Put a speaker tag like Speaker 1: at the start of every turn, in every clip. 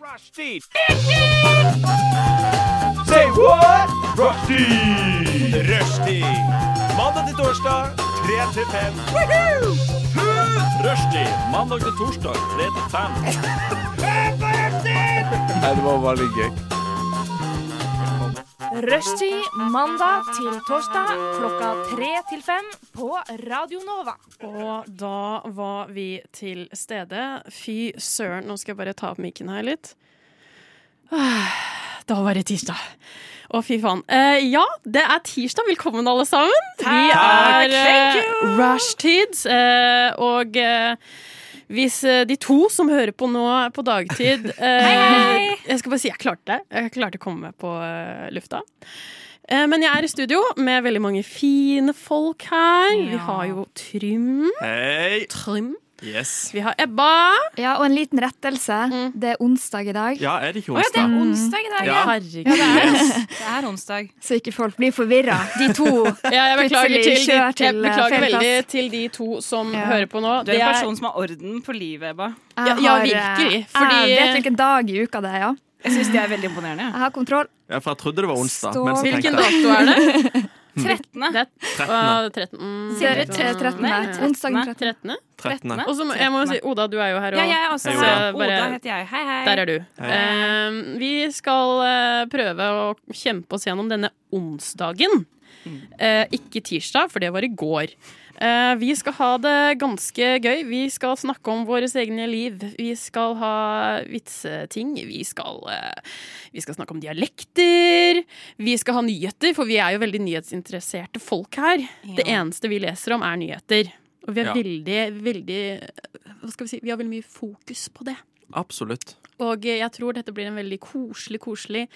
Speaker 1: Rushdie! Say what? Rushdie! Rushdie! Mandag til torsdag, 3 til 5. Rushdie! Mandag til torsdag, 3 til 5.
Speaker 2: Rushtid mandag til torsdag klokka tre til fem på Radio Nova.
Speaker 3: Og da var vi til stede. Fy søren, nå skal jeg bare ta opp mikken her litt. Ah, Da var det tirsdag. Å, fy faen. Eh, ja, det er tirsdag. Velkommen, alle sammen. Vi er uh, rushtids. eh, og eh, hvis eh, de to som hører på nå på dagtid eh, Jeg skal bare si jeg klarte det. Jeg klarte å komme meg på eh, lufta. Eh, men jeg er i studio med veldig mange fine folk her. Vi har jo Trym.
Speaker 1: Hei!
Speaker 3: Trym.
Speaker 1: Yes.
Speaker 3: Vi har Ebba.
Speaker 4: Ja, og en liten rettelse.
Speaker 3: Mm.
Speaker 4: Det er onsdag i dag,
Speaker 1: Ja, er det ikke
Speaker 5: Det er
Speaker 1: onsdag?
Speaker 5: onsdag i dag, ja.
Speaker 3: Herregud.
Speaker 5: Det er onsdag.
Speaker 4: så ikke folk blir forvirra. De to.
Speaker 3: Ja, jeg beklager,
Speaker 4: Plutselig
Speaker 3: til, de-
Speaker 4: kjør til,
Speaker 3: jeg beklager
Speaker 4: eh, feil
Speaker 3: veldig
Speaker 4: plass.
Speaker 3: til de to som
Speaker 4: Ja.
Speaker 3: hører på nå.
Speaker 5: Du
Speaker 3: Det
Speaker 5: er en
Speaker 3: er-
Speaker 5: person som har orden på livet, Ebba.
Speaker 3: Ja, ja, virkelig, fordi-
Speaker 4: eh, Jeg vet hvilken dag i uka det er, ja.
Speaker 5: Jeg syns det er veldig imponerende.
Speaker 4: Jeg har kontroll.
Speaker 1: Ja, for jeg trodde det var onsdag.
Speaker 4: Stå-
Speaker 1: Men så
Speaker 3: Hvilken
Speaker 1: tenkte jeg
Speaker 3: dato er det?
Speaker 5: Trettende.
Speaker 3: Det er
Speaker 1: trettende,
Speaker 3: uh, 13. Mm,
Speaker 4: Det er tre- 13.
Speaker 5: Nei,
Speaker 4: Onsdag den 13.
Speaker 3: 13.
Speaker 1: trettende.
Speaker 3: Og så må jeg må jo si Oda, du er jo her
Speaker 5: Ja,
Speaker 3: òg.
Speaker 5: jeg er også
Speaker 1: Hei,
Speaker 5: her.
Speaker 3: Oda.
Speaker 5: Oda heter jeg. Hei, hei.
Speaker 3: Der er du.
Speaker 1: Hei.
Speaker 3: Eh, vi skal eh, prøve å kjempe oss gjennom denne onsdagen.
Speaker 1: Mm.
Speaker 3: Eh, ikke tirsdag, for det var i går. Eh, vi skal ha det ganske gøy. Vi skal snakke om våre egne liv. Vi skal ha vitseting. Vi skal, eh, vi skal snakke om dialekter. Vi skal ha nyheter, for vi er jo veldig nyhetsinteresserte folk her. Det eneste vi leser om, er nyheter. Og vi er
Speaker 1: Ja.
Speaker 3: veldig, veldig eh, Hva skal vi si? Vi har veldig mye fokus på det.
Speaker 1: Absolutt.
Speaker 3: Og jeg tror dette blir en veldig koselig, koselig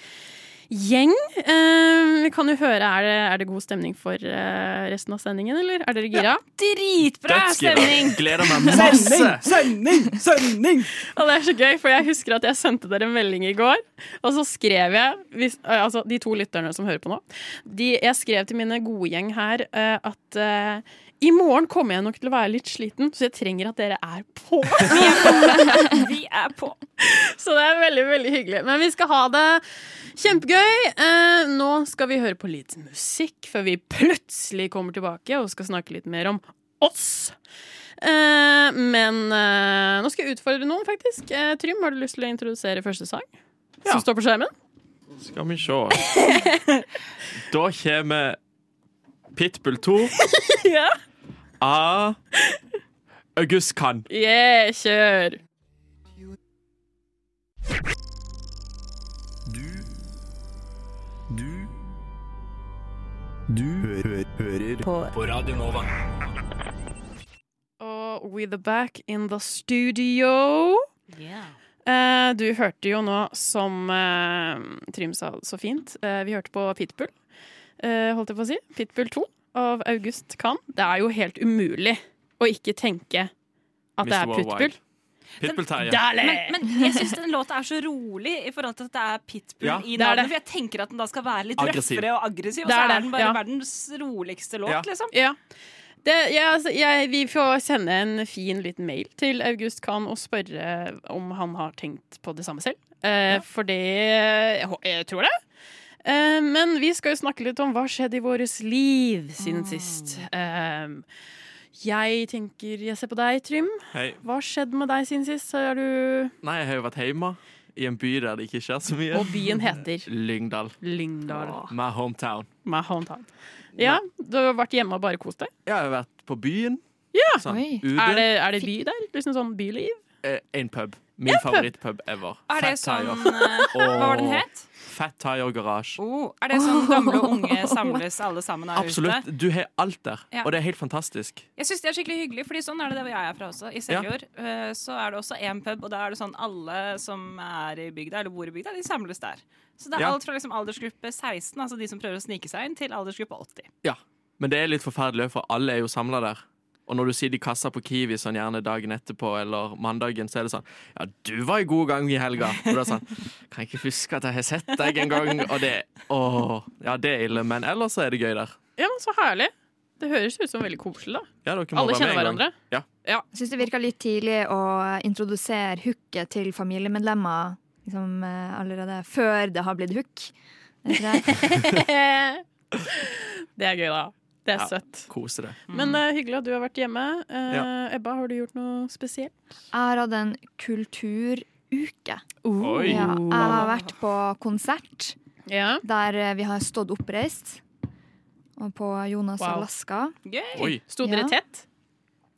Speaker 3: gjeng. Eh, Vi kan jo høre, er det, er det god stemning for eh, resten av sendingen, eller? Er dere gira?
Speaker 5: Dritbra
Speaker 1: Dødsgira.
Speaker 5: stemning!
Speaker 1: Gleder meg masse!
Speaker 3: Og det er så gøy, for jeg husker at jeg sendte dere en melding i går, og så skrev jeg, hvis, eh, altså de to lytterne som hører på nå, de, jeg skrev til mine gode gjeng her eh, at eh, i morgen kommer jeg nok til å være litt sliten, så jeg trenger at dere er på.
Speaker 5: Vi er på.
Speaker 3: Så det er veldig, veldig hyggelig. Men vi skal ha det kjempegøy. Eh, nå skal vi høre på litt musikk før vi plutselig kommer tilbake og skal snakke litt mer om oss. Eh, men eh, nå skal jeg utfordre noen, faktisk. Eh, Trym, har du lyst til å introdusere første sang?
Speaker 1: Ja.
Speaker 3: Som står på skjermen?
Speaker 1: Skal vi sjå. Da kommer Pitbull 2
Speaker 3: Ja.
Speaker 1: av August Khan.
Speaker 3: Yeah, kjør! Og We The Back in the Studio. Eh, du hørte jo nå, som eh, Trym sa så fint, eh, vi hørte på Pitbull, eh, holdt jeg på å si. Pitbull 2 av August Kahn. Det er jo helt umulig å ikke tenke at det
Speaker 1: Mr.
Speaker 3: er
Speaker 1: Worldwide.
Speaker 3: Pitbull.
Speaker 1: Pitbull Terje.
Speaker 3: Dæhlig!
Speaker 5: Men, men jeg syns den låta er så rolig i forhold til at det er pitbull
Speaker 1: Ja,
Speaker 5: i
Speaker 3: det er
Speaker 5: navnet.
Speaker 3: det.
Speaker 5: For jeg tenker at den da skal være litt
Speaker 1: Aggressiv.
Speaker 5: røffere og aggressiv, og
Speaker 3: Det
Speaker 5: så
Speaker 3: er
Speaker 5: er
Speaker 3: det,
Speaker 5: den bare
Speaker 3: ja.
Speaker 5: verdens roligste låt,
Speaker 1: Ja.
Speaker 5: liksom.
Speaker 3: Ja. Det, ja, altså, jeg, vi får sende en fin liten mail til August Kahn og spørre om han har tenkt på det samme selv. Eh, For det jeg, hå- jeg tror det. Eh, men vi skal jo snakke litt om hva skjedde i våres liv siden sist. Eh, jeg tenker Jeg ser på deg, Trym.
Speaker 1: Hei.
Speaker 3: Hva skjedde med deg siden sist? Har du
Speaker 1: Nei, jeg har jo vært hjemme i en by der det ikke skjer så mye.
Speaker 3: Og byen heter
Speaker 1: Lyngdal.
Speaker 3: Lyngdal.
Speaker 1: My hometown.
Speaker 3: My hometown. Ja, du har vært hjemme og bare kost deg.
Speaker 1: Jeg har vært på byen. Sånn,
Speaker 4: Oi.
Speaker 1: ute.
Speaker 3: Er det, er det by der? Liksom sånn byliv?
Speaker 1: Eh, En pub. Min favorittpub ever.
Speaker 5: Er det
Speaker 1: Fat
Speaker 5: sånn
Speaker 1: Tire.
Speaker 5: eh, Hva var den
Speaker 1: Åh.
Speaker 5: het?
Speaker 1: Fat Tire Garage.
Speaker 5: Oh, er det sånn gamle og unge samles alle sammen her
Speaker 1: Absolutt.
Speaker 5: ute?
Speaker 1: Du har alt der,
Speaker 5: Ja.
Speaker 1: og det er helt fantastisk.
Speaker 5: Jeg syns det er skikkelig hyggelig, Fordi sånn er det der hvor jeg er fra også. I Seljord eh, så er det også én pub, og da er det sånn alle som er i bygda, eller bor i bygda, de samles der. Så det er
Speaker 1: Ja.
Speaker 5: alt fra liksom aldersgruppe 16, altså de som prøver å snike seg inn, til aldersgruppe 80.
Speaker 1: Ja. Men det er litt forferdelig, for alle er jo samla der. Og når du sitter i kassa på Kiwi sånn gjerne dagen etterpå eller mandagen, så er det sånn Ja, du var i god gang i helga. Og da er sånn Kan ikke huske at jeg har sett deg en gang. Og det Åh. Ja, det er ille, men ellers så er det gøy der.
Speaker 3: Ja, men så herlig. Det høres ut som veldig koselig, da.
Speaker 1: Ja, dere må
Speaker 3: Alle
Speaker 1: være med
Speaker 3: kjenner
Speaker 1: en gang.
Speaker 3: hverandre.
Speaker 1: Ja.
Speaker 4: Jeg syns det virka litt tidlig å introdusere hooket til familiemedlemmer liksom, eh, allerede før det har blitt hook. Er ikke det?
Speaker 3: det er gøy, da. Det er
Speaker 1: Ja.
Speaker 3: søtt.
Speaker 1: Kose det.
Speaker 3: Men eh, hyggelig at du har vært hjemme. Eh,
Speaker 1: Ja.
Speaker 3: Ebba, har du gjort noe spesielt?
Speaker 4: Jeg har hatt en kulturuke.
Speaker 1: Oi.
Speaker 4: Ja, jeg har vært på konsert
Speaker 3: Ja.
Speaker 4: der eh, vi har stått oppreist. Og på Jonas
Speaker 3: Wow.
Speaker 4: og Alaska.
Speaker 5: Gøy!
Speaker 1: Oi.
Speaker 3: Sto dere
Speaker 4: Ja.
Speaker 3: tett?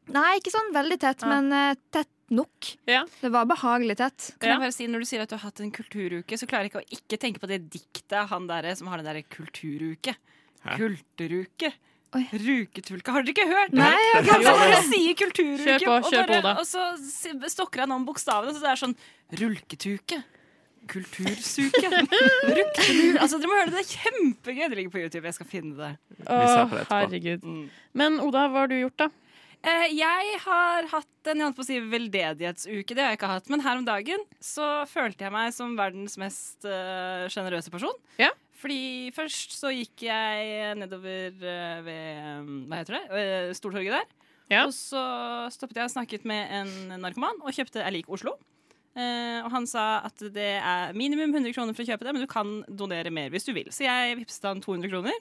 Speaker 4: Nei, ikke sånn veldig tett,
Speaker 3: Ja.
Speaker 4: men eh, tett nok.
Speaker 3: Ja.
Speaker 4: Det var behagelig tett.
Speaker 5: Kan
Speaker 3: Ja.
Speaker 5: jeg bare si, Når du sier at du har hatt en kulturuke, så klarer jeg ikke å ikke tenke på det diktet han der som har den derre kulturuke.
Speaker 1: Hæ?
Speaker 5: Kulturuke.
Speaker 4: Oi.
Speaker 5: Ruketulke. Har dere ikke hørt?
Speaker 4: Nei, jeg har
Speaker 5: Han
Speaker 4: ikke
Speaker 5: bare sier kulturuke,
Speaker 3: Kjør på,
Speaker 5: og,
Speaker 3: kjør på, da.
Speaker 5: og så si- stokker han om bokstavene, så det er sånn rulketuke. Kultursuke. Rukketur. Altså, dere må høre det. Det er kjempegøy. Det ligger på YouTube. Jeg skal finne det.
Speaker 3: Å,
Speaker 1: ser på det etterpå.
Speaker 3: herregud.
Speaker 5: Mm.
Speaker 3: Men Oda, hva har du gjort, da?
Speaker 5: Eh, jeg har hatt en jeg holdt på å si, veldedighetsuke, det har jeg ikke hatt. Men her om dagen så følte jeg meg som verdens mest eh, sjenerøse person.
Speaker 3: Ja.
Speaker 5: Fordi først så gikk jeg nedover eh, ved eh, Hva heter det? Eh, Stortorget der.
Speaker 3: Ja.
Speaker 5: Og så stoppet jeg og snakket med en narkoman og kjøpte Jeg liker Oslo. Eh, og han sa at det er minimum 100 kroner for å kjøpe det, men du kan donere mer hvis du vil. Så jeg vippset han 200 kroner.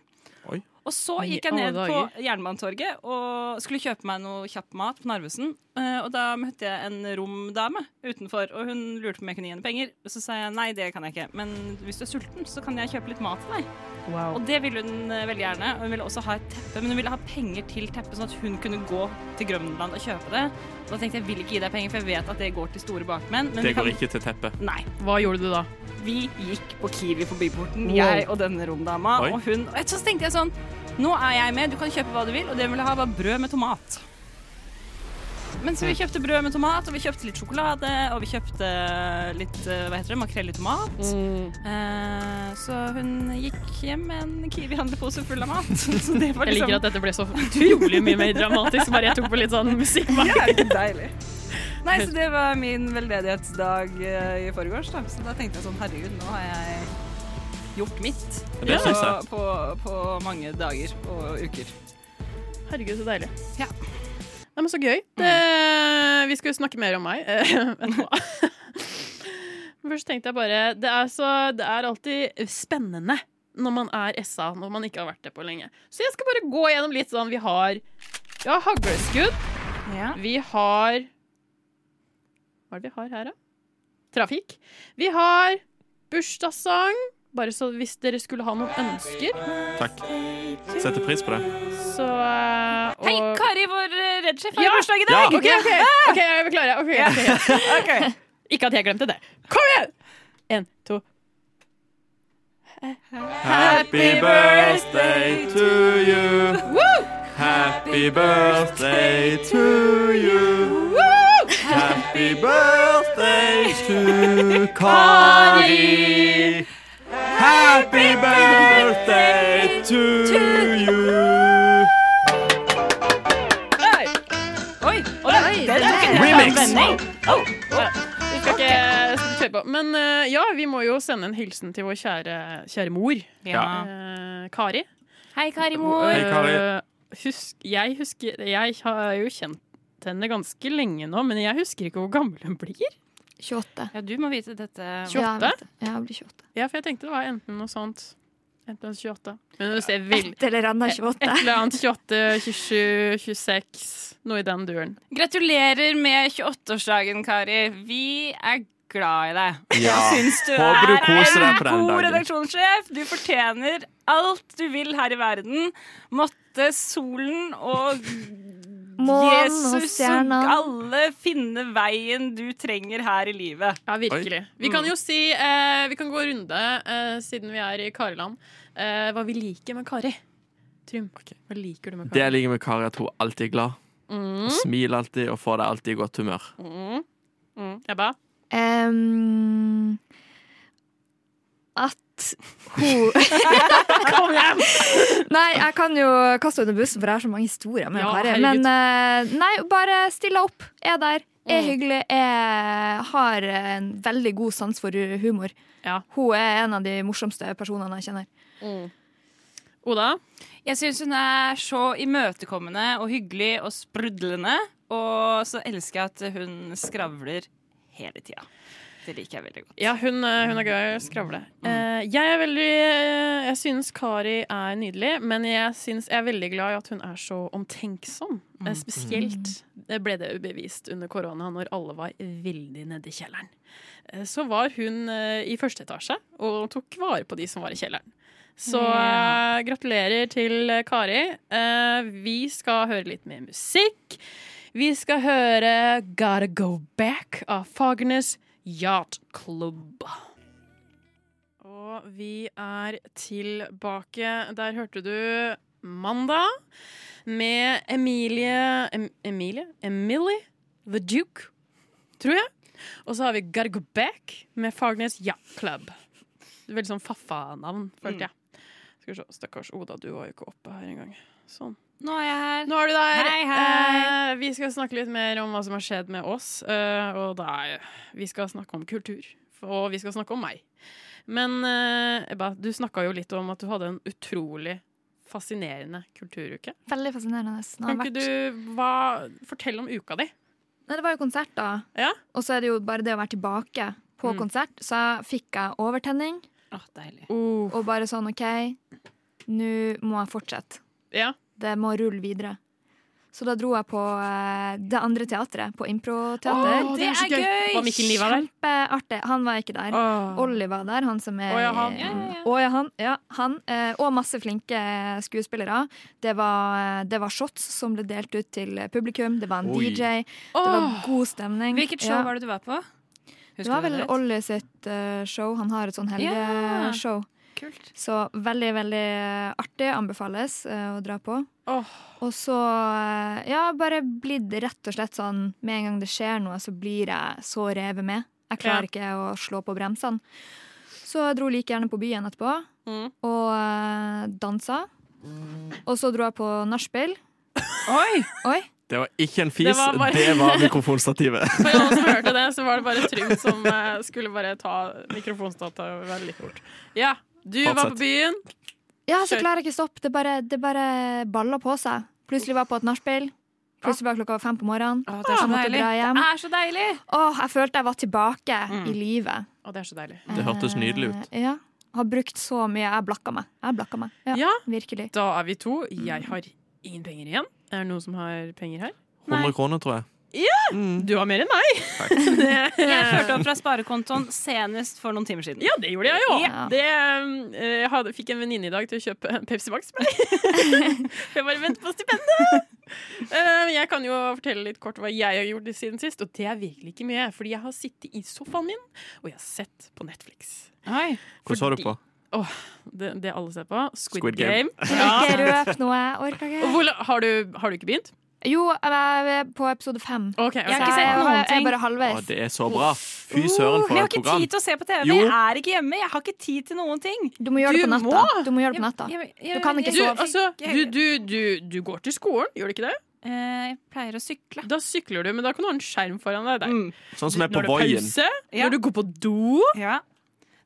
Speaker 1: Oi.
Speaker 5: Og så
Speaker 3: I
Speaker 5: gikk jeg
Speaker 3: alle
Speaker 5: ned på Jernbanetorget og skulle kjøpe meg noe kjapp mat på Narvesen. Eh, og da møtte jeg en romdame utenfor, og hun lurte på om jeg kunne gi henne penger. Og så sa jeg nei, det kan jeg ikke, men hvis du er sulten, så kan jeg kjøpe litt mat til deg.
Speaker 3: Wow.
Speaker 5: Og det ville hun eh, veldig gjerne. Og hun ville også ha et teppe, men hun ville ha penger til teppet, sånn at hun kunne gå til Grønland og kjøpe det. Og da tenkte jeg jeg vil ikke gi deg penger, for jeg vet at det går til store bakmenn. Men
Speaker 1: Det
Speaker 5: vi kan...
Speaker 1: går ikke til teppet.
Speaker 5: Nei.
Speaker 3: Hva gjorde du da?
Speaker 5: Vi gikk på Kiwi forbi porten,
Speaker 3: Wow.
Speaker 5: jeg og denne romdama
Speaker 1: Oi.
Speaker 5: og hun. Og så tenkte jeg sånn Nå er jeg med, du kan kjøpe hva du vil, og det hun ville ha, var brød med tomat. Men så vi kjøpte brød med tomat, og vi kjøpte litt sjokolade, og vi kjøpte litt eh, hva heter det, makrell i tomat.
Speaker 4: Mm.
Speaker 5: Eh, Så hun gikk hjem med en Kiwi-handlepose full av mat. Så det var
Speaker 3: Jeg
Speaker 5: liksom
Speaker 3: liker at dette ble så utrolig mye mer dramatisk, bare jeg tok på litt sånn musikk.
Speaker 5: Ja, det er deilig. Nei, så det var min veldedighetsdag eh, i forgårs, da. Så da tenkte jeg sånn, herregud, nå har jeg gjort mitt
Speaker 1: Det
Speaker 5: på,
Speaker 1: syns jeg.
Speaker 5: på, på mange dager og uker.
Speaker 3: Herregud, så deilig.
Speaker 5: Ja. Mm.
Speaker 3: Nei, men så gøy. Det, vi skal jo snakke mer om meg. Vent nå. Først tenkte jeg bare det er, så, det er alltid spennende når man er SA, når man ikke har vært det på lenge. Så jeg skal bare gå gjennom litt sånn Vi har, vi har hagleskudd. Vi har Hva er det vi har her, da? Trafikk. Vi har bursdagssang. Bare så hvis dere skulle ha noen ønsker,
Speaker 1: Takk. Setter pris på det.
Speaker 3: så eh, og,
Speaker 5: Hei, Kari, vår eh, redsjef har
Speaker 3: Ja.
Speaker 5: jo bursdag i
Speaker 1: Ja.
Speaker 5: dag!
Speaker 3: OK, ok, ok, jeg beklager. Ok, ok. Ikke at jeg glemte det. Kom igjen! En, to
Speaker 1: Happy birthday to you. Happy birthday to you. Happy birthday to Kari. Happy birthday to you.
Speaker 5: Oi! Og det, det, det, det,
Speaker 1: Remix.
Speaker 5: Oh.
Speaker 3: Vi skal ikke skal kjøre på. Men eh, ja, vi må jo sende en hilsen til vår kjære, kjære mor,
Speaker 1: Ja.
Speaker 3: eh, Kari.
Speaker 5: Hei, Kari,
Speaker 1: Hei, Kari.
Speaker 3: Eh, husk, jeg husker Jeg har jo kjent henne ganske lenge nå, men jeg husker ikke hvor gammel hun blir.
Speaker 4: 28.
Speaker 5: Ja, du må vite dette.
Speaker 4: Ja,
Speaker 3: 28?
Speaker 4: Ja, jeg blir 28.
Speaker 3: Ja, for jeg tenkte det var enten noe sånt. Enten 28. Men du ser veldig
Speaker 4: Et eller annet
Speaker 3: Et
Speaker 4: 28.
Speaker 3: eller annet 28, 27, 26, noe i den duren.
Speaker 5: Gratulerer med 28-årsdagen, Kari. Vi er glad i deg.
Speaker 1: Ja.
Speaker 5: Syns du
Speaker 1: Håper du
Speaker 5: er
Speaker 1: koser deg på den
Speaker 5: god
Speaker 1: dagen.
Speaker 5: redaksjonssjef. Du fortjener alt du vil her i verden. Måtte solen og
Speaker 4: Månen og
Speaker 5: Jesus og
Speaker 4: stjerna.
Speaker 5: alle finne veien du trenger her i livet.
Speaker 3: Ja, virkelig. Vi
Speaker 1: Mm.
Speaker 3: kan jo si, eh, vi kan gå runde, eh, siden vi er i Kariland, eh, hva vi liker med Kari. Trym, hva liker du med
Speaker 1: Det
Speaker 3: Kari?
Speaker 1: jeg liker med Kari, er at hun alltid er glad. Hun smiler alltid og får deg alltid i godt humør.
Speaker 3: Mm. Mm. Ebba?
Speaker 4: Em, at hun
Speaker 3: Kom igjen!
Speaker 4: Nei, jeg kan jo kaste under bussen, for jeg har så mange historier med
Speaker 3: Ja,
Speaker 4: Kari.
Speaker 3: herregud.
Speaker 4: Men eh, nei, bare stille opp. Er der. Er
Speaker 3: Mm.
Speaker 4: hyggelig. Er, har en veldig god sans for humor.
Speaker 3: Ja.
Speaker 4: Hun er en av de morsomste personene jeg kjenner.
Speaker 3: Oda?
Speaker 5: Jeg syns hun er så imøtekommende og hyggelig og sprudlende. Og så elsker jeg at hun skravler hele tida. Det liker jeg veldig godt.
Speaker 3: Ja, hun, eh, hun er glad i å skravle. Eh, jeg er veldig eh, Jeg syns Kari er nydelig, men jeg, syns, jeg er veldig glad i at hun er så omtenksom. Eh, spesielt eh, ble det jo bevist under korona, når alle var veldig nede i kjelleren. Eh, så var hun eh, i første etasje og tok vare på de som var i kjelleren. Så eh, gratulerer til eh, Kari. Eh, vi skal høre litt mer musikk. Vi skal høre Gotta Go Back av Fagernes Yacht Club. Og vi er tilbake. Der hørte du Mandag med Emilie em Emilie? Emily The Duke, tror jeg. Og så har vi Gotta Go Back med Fagernes Yacht Club. Det er Veldig sånn faffa-navn, følte jeg. Skal vi se. Stakkars Oda, du var jo ikke oppe her engang. Sånn.
Speaker 5: Nå er jeg her.
Speaker 3: Nå er du der.
Speaker 5: Hei, hei.
Speaker 3: Eh, vi skal snakke litt mer om hva som har skjedd med oss. eh, og det er Vi skal snakke om kultur. Og vi skal snakke om meg. Men eh, Ebba, du snakka jo litt om at du hadde en utrolig fascinerende kulturuke.
Speaker 4: Veldig fascinerende. Nå
Speaker 3: Kan
Speaker 4: har
Speaker 3: ikke
Speaker 4: jeg vært.
Speaker 3: du hva, fortelle om uka di?
Speaker 4: Nei, det var jo konsert, da.
Speaker 3: Ja?
Speaker 4: Og så er det jo bare det å være tilbake på
Speaker 3: Mm.
Speaker 4: konsert. Så fikk jeg overtenning
Speaker 5: Åh, deilig.
Speaker 4: og bare sånn OK, nå må jeg fortsette.
Speaker 3: Ja.
Speaker 4: Det må rulle videre. Så da dro jeg på eh, det andre teatret, på improteater.
Speaker 3: Å,
Speaker 5: det
Speaker 3: så
Speaker 5: er gøy!
Speaker 3: Var Mikkel Niva der?
Speaker 4: Kjempeartig. Han var ikke der.
Speaker 3: Åh.
Speaker 4: Olli var der, han som er
Speaker 3: Å ja, han.
Speaker 4: eh,
Speaker 5: Ja, ja, ja.
Speaker 4: å ja, han. Ja, han. Eh, Og masse flinke eh, skuespillere. Det var, eh, det var shots som ble delt ut til publikum. Det var en
Speaker 1: Oi.
Speaker 4: DJ. Det var
Speaker 3: Åh.
Speaker 4: god stemning.
Speaker 5: Hvilket show
Speaker 4: Ja.
Speaker 5: var det du var på?
Speaker 4: Det var vel Olli sitt eh, show. Han har et sånn
Speaker 5: Ja.
Speaker 4: helgeshow.
Speaker 5: Kult.
Speaker 4: Så veldig, veldig eh, artig. Anbefales eh, å dra på.
Speaker 3: Åh.
Speaker 4: Og så eh, ja, bare blitt rett og slett sånn med en gang det skjer noe, så blir jeg så revet med. Jeg klarer ikke å slå på bremsene. Så jeg dro like gjerne på byen etterpå
Speaker 3: Mm.
Speaker 4: og eh, dansa. Og så dro jeg på nachspiel.
Speaker 5: Oi!
Speaker 4: Oi!
Speaker 1: Det var ikke en fis,
Speaker 3: Det
Speaker 1: det
Speaker 3: var
Speaker 1: var,
Speaker 3: bare-
Speaker 1: mikrofonstativet.
Speaker 3: For alle som hørte det, så var det bare Trym som eh, skulle bare ta mikrofonstata veldig fort. Ja, du var
Speaker 1: Fortsett.
Speaker 3: på byen.
Speaker 4: Ja, så
Speaker 3: Kjør.
Speaker 4: klarer jeg ikke å stoppe. Det bare, det bare baller på seg. Plutselig var jeg på et nachspiel. Plutselig var klokka fem på morgenen.
Speaker 5: Åh, det er så
Speaker 4: Jeg måtte
Speaker 5: deilig.
Speaker 4: dra hjem.
Speaker 5: Det er så deilig!
Speaker 4: Åh, jeg følte jeg var tilbake
Speaker 3: Mm.
Speaker 4: i livet.
Speaker 3: Å, det er så deilig.
Speaker 1: Det hørtes nydelig ut.
Speaker 4: Eh, Ja. Har brukt så mye. Jeg blakka meg. Jeg blakka meg. Ja,
Speaker 3: Ja.
Speaker 4: Virkelig.
Speaker 3: Da er vi to. Jeg har ingen penger igjen. Er det noen som har penger her?
Speaker 1: 100 kroner, tror jeg.
Speaker 3: Du har mer enn meg! Det-
Speaker 5: Jeg førte opp fra sparekontoen senest for noen timer siden.
Speaker 3: ja, det gjorde jeg jo!
Speaker 4: Ja.
Speaker 3: Det, um, jeg hadde, fikk en venninne i dag til å kjøpe en Pepsi Max for meg. jeg bare venter på stipendet! Uh, jeg kan jo fortelle litt kort hva jeg har gjort siden sist, og det er virkelig ikke mye. Fordi jeg har sittet i sofaen min, og jeg har sett på Netflix.
Speaker 5: Oi.
Speaker 1: Hvordan så du på?
Speaker 3: Det, det alle ser på. Squid,
Speaker 1: Squid Game.
Speaker 3: Game.
Speaker 4: Ikke
Speaker 3: Ja.
Speaker 4: røp noe. Jeg orker
Speaker 3: Og
Speaker 4: ikke.
Speaker 3: hvor, har, du, har du ikke begynt?
Speaker 4: Jo, jeg er på episode fem.
Speaker 3: Ok, ok.
Speaker 5: Jeg har ikke sett
Speaker 4: Jeg
Speaker 5: noen
Speaker 4: er- jeg er
Speaker 5: ting.
Speaker 4: bare
Speaker 1: Å,
Speaker 4: halvveis.
Speaker 1: det er så bra. Fy
Speaker 3: Uh,
Speaker 1: søren,
Speaker 5: Men
Speaker 1: for
Speaker 5: jeg har
Speaker 1: et
Speaker 5: ikke
Speaker 1: program.
Speaker 5: tid til å se på TV.
Speaker 1: Jo.
Speaker 5: Jeg er ikke hjemme. Jeg har ikke tid til noen ting.
Speaker 4: Du må gjøre det på
Speaker 3: Du
Speaker 4: natta. Du må gjøre det på natta.
Speaker 5: Jeg- jeg-
Speaker 4: Du kan ikke
Speaker 5: jeg-
Speaker 3: Du,
Speaker 4: sove.
Speaker 3: altså, du, du, du, du går til skolen, gjør du ikke det?
Speaker 5: Eh, Jeg pleier å sykle.
Speaker 3: Da sykler du, men da kan du ha en skjerm foran deg.
Speaker 5: Mm.
Speaker 3: Der.
Speaker 1: Sånn som er på
Speaker 3: Når det er
Speaker 1: Voien.
Speaker 3: pause, når
Speaker 5: Ja.
Speaker 3: du går på do
Speaker 5: Ja.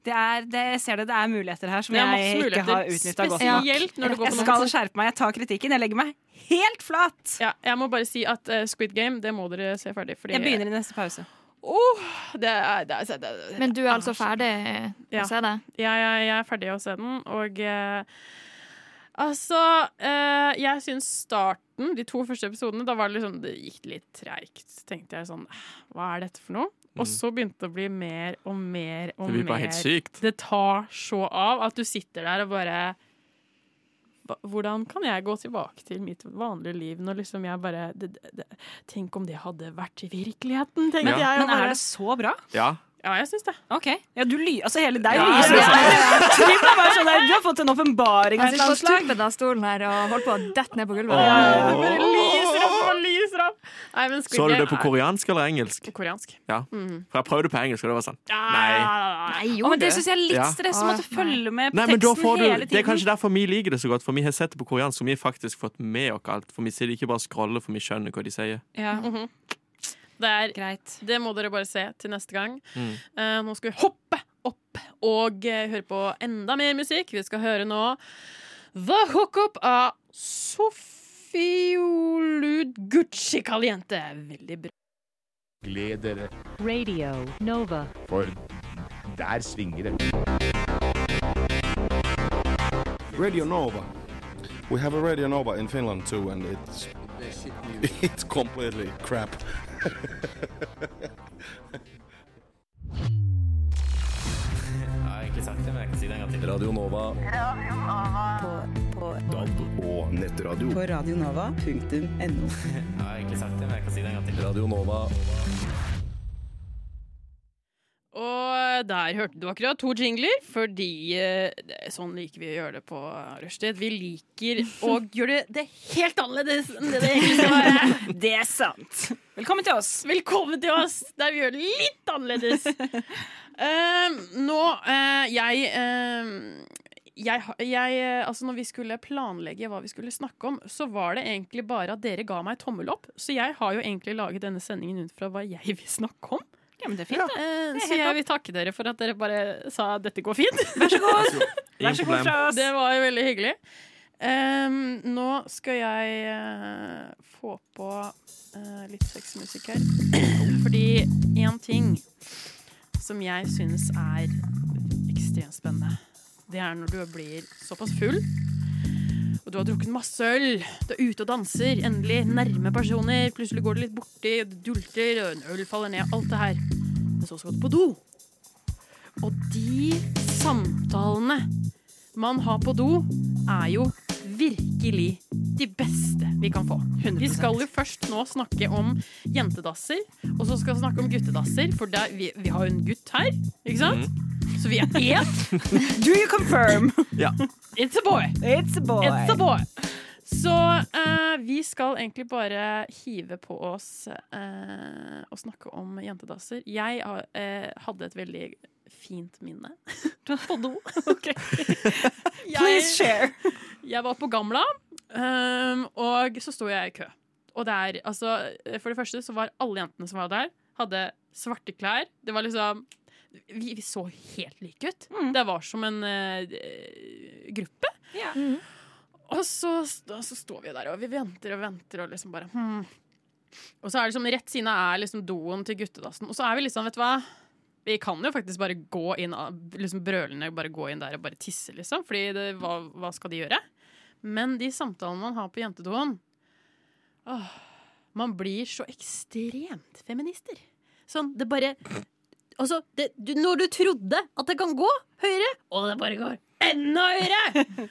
Speaker 5: Det er, det, jeg ser det, det er muligheter her som
Speaker 3: Det er masse
Speaker 5: jeg ikke har
Speaker 3: muligheter,
Speaker 5: utnytta godt nok.
Speaker 3: spesielt når du går
Speaker 5: Jeg
Speaker 3: på
Speaker 5: skal
Speaker 3: do.
Speaker 5: skjerpe meg. Jeg tar kritikken. Jeg legger meg helt flat.
Speaker 3: Ja, jeg må bare si at eh, Squid Game, det må dere se ferdig. Fordi,
Speaker 5: Jeg begynner i neste pause.
Speaker 3: Åh, det er, det er, det er,
Speaker 4: Men du er altså ferdig
Speaker 3: Ja.
Speaker 4: å se det?
Speaker 3: jeg, jeg, jeg er ferdig å se den, og eh, Altså, eh, jeg syns starten, de to første episodene, da var det liksom Det gikk litt treigt. Så tenkte jeg sånn Hva er dette for noe? Og så begynte det å bli mer og mer og
Speaker 1: Mm. Det blir bare helt
Speaker 3: mer.
Speaker 1: sykt.
Speaker 3: det tar så av at du sitter der og bare "Hva- hvordan kan jeg gå tilbake til mitt vanlige liv når liksom jeg bare det, det, det, Tenk om det hadde vært i virkeligheten, tenkte
Speaker 1: Ja.
Speaker 3: jeg. og
Speaker 5: Men er
Speaker 3: bare-
Speaker 5: det så bra?
Speaker 1: Ja.
Speaker 3: Ja, jeg syns det.
Speaker 5: Ok. Ja, du ly... Altså, hele deg
Speaker 1: Ja,
Speaker 5: lyser.
Speaker 1: det er
Speaker 5: Trym er bare sånn der, du har fått en åpenbaring. av
Speaker 4: Jeg
Speaker 5: et
Speaker 4: sitter på
Speaker 5: eller annet slag.
Speaker 4: tuppen av stolen her og holdt på å dette ned på
Speaker 1: Åh.
Speaker 4: gulvet.
Speaker 3: Det bare lyser opp og lyser opp. Nei, men Squid
Speaker 1: Så du
Speaker 3: Game
Speaker 1: det på
Speaker 3: er-
Speaker 1: koreansk eller engelsk?
Speaker 3: koreansk?
Speaker 1: Ja.
Speaker 5: Mhm.
Speaker 1: For jeg prøvde på engelsk, og det var sånn. Nei.
Speaker 3: Nei.
Speaker 4: Nei,
Speaker 5: Å,
Speaker 4: gjorde
Speaker 5: men det
Speaker 4: du?
Speaker 5: syns jeg er litt
Speaker 1: Ja.
Speaker 5: stress å måtte
Speaker 4: Åh,
Speaker 5: følge med på
Speaker 1: Nei, men da
Speaker 5: teksten
Speaker 1: får du,
Speaker 5: hele tiden.
Speaker 1: det er kanskje derfor vi liker det så godt, for vi har sett det på koreansk, og vi har faktisk fått med oss alt. For vi sitter ikke bare og scroller, for vi skjønner hva de sier.
Speaker 5: Ja,
Speaker 3: Det er
Speaker 5: greit.
Speaker 3: Det må dere bare se til neste gang.
Speaker 1: Mm.
Speaker 3: Eh, nå skal vi hoppe opp og eh, høre på enda mer musikk. Vi skal høre nå The Hookup av Sofiolud Gucci Caliente. Veldig bra.
Speaker 6: Gled dere,
Speaker 7: Radio Nova.
Speaker 6: for der svinger det.
Speaker 8: Radio Nova. We have a Radio Nova in Finland too, and it's it's completely crap. Radio Nova.
Speaker 6: DAB og nettradio.
Speaker 9: på radionova.no.
Speaker 8: Radio Nova.
Speaker 3: Og der hørte du akkurat to jingler, fordi eh, det- sånn liker vi å gjøre det på rushtid. Vi liker å gjøre det, det helt annerledes enn det det egentlig skal være.
Speaker 5: Det er sant. Velkommen til oss.
Speaker 3: Velkommen til oss, der vi gjør det litt annerledes. Eh, nå, eh, jeg, eh, jeg, ha- jeg eh, Altså, når vi skulle planlegge hva vi skulle snakke om, så var det egentlig bare at dere ga meg tommel opp. Så jeg har jo egentlig laget denne sendingen ut fra hva jeg vil snakke om.
Speaker 5: Ja, men det er fint, det.
Speaker 3: Eh,
Speaker 5: Det er
Speaker 3: så
Speaker 5: helt
Speaker 3: jeg vil takke dere for at dere bare sa at dette går fint.
Speaker 5: Vær så god fra oss.
Speaker 3: Det var jo veldig hyggelig. Ehm, nå skal jeg eh, få på eh, litt sexmusikk her. Fordi én ting som jeg syns er ekstremt spennende, det er når du blir såpass full, og du har drukket masse øl, du er ute og danser, endelig nærme personer, plutselig går du litt borti, du dulter, og en øl faller ned, alt det her. Men så skal du på do. Og de samtalene man har på do, er jo virkelig de beste vi kan få. Vi skal jo først nå snakke om jentedasser, og så skal vi snakke om guttedasser, for der, vi, vi har jo en gutt her, ikke sant?
Speaker 5: Mm.
Speaker 3: Så vi er én.
Speaker 5: Do you confirm?
Speaker 3: It's a boy!
Speaker 5: It's a boy.
Speaker 3: It's a boy! Så eh, vi skal egentlig bare hive på oss eh, og snakke om jentedasser. Jeg har, eh, hadde et veldig fint minne på do. Jeg-
Speaker 5: Please share.
Speaker 3: Jeg var på Gamla, ehm, og så sto jeg i kø. Og der, altså, for det første så var alle jentene som var der, hadde svarte klær. Det var liksom Vi, vi så helt like ut. Det var som en eh, gruppe. Mm.
Speaker 5: Ja.
Speaker 3: Og så, st- så står vi der, og vi venter og venter, og liksom bare hmm. Og så er det liksom rett siden av er liksom doen til guttedassen, og så er vi liksom, vet du hva vi kan jo faktisk bare gå inn liksom brølende bare gå inn der og bare tisse, liksom. Fordi det, hva, hva skal de gjøre? Men de samtalene man har på jentedoen åh, Man blir så ekstremt feminister. Sånn, det bare Altså, det, du, når du trodde at det kan gå høyere, og det bare går enda høyere!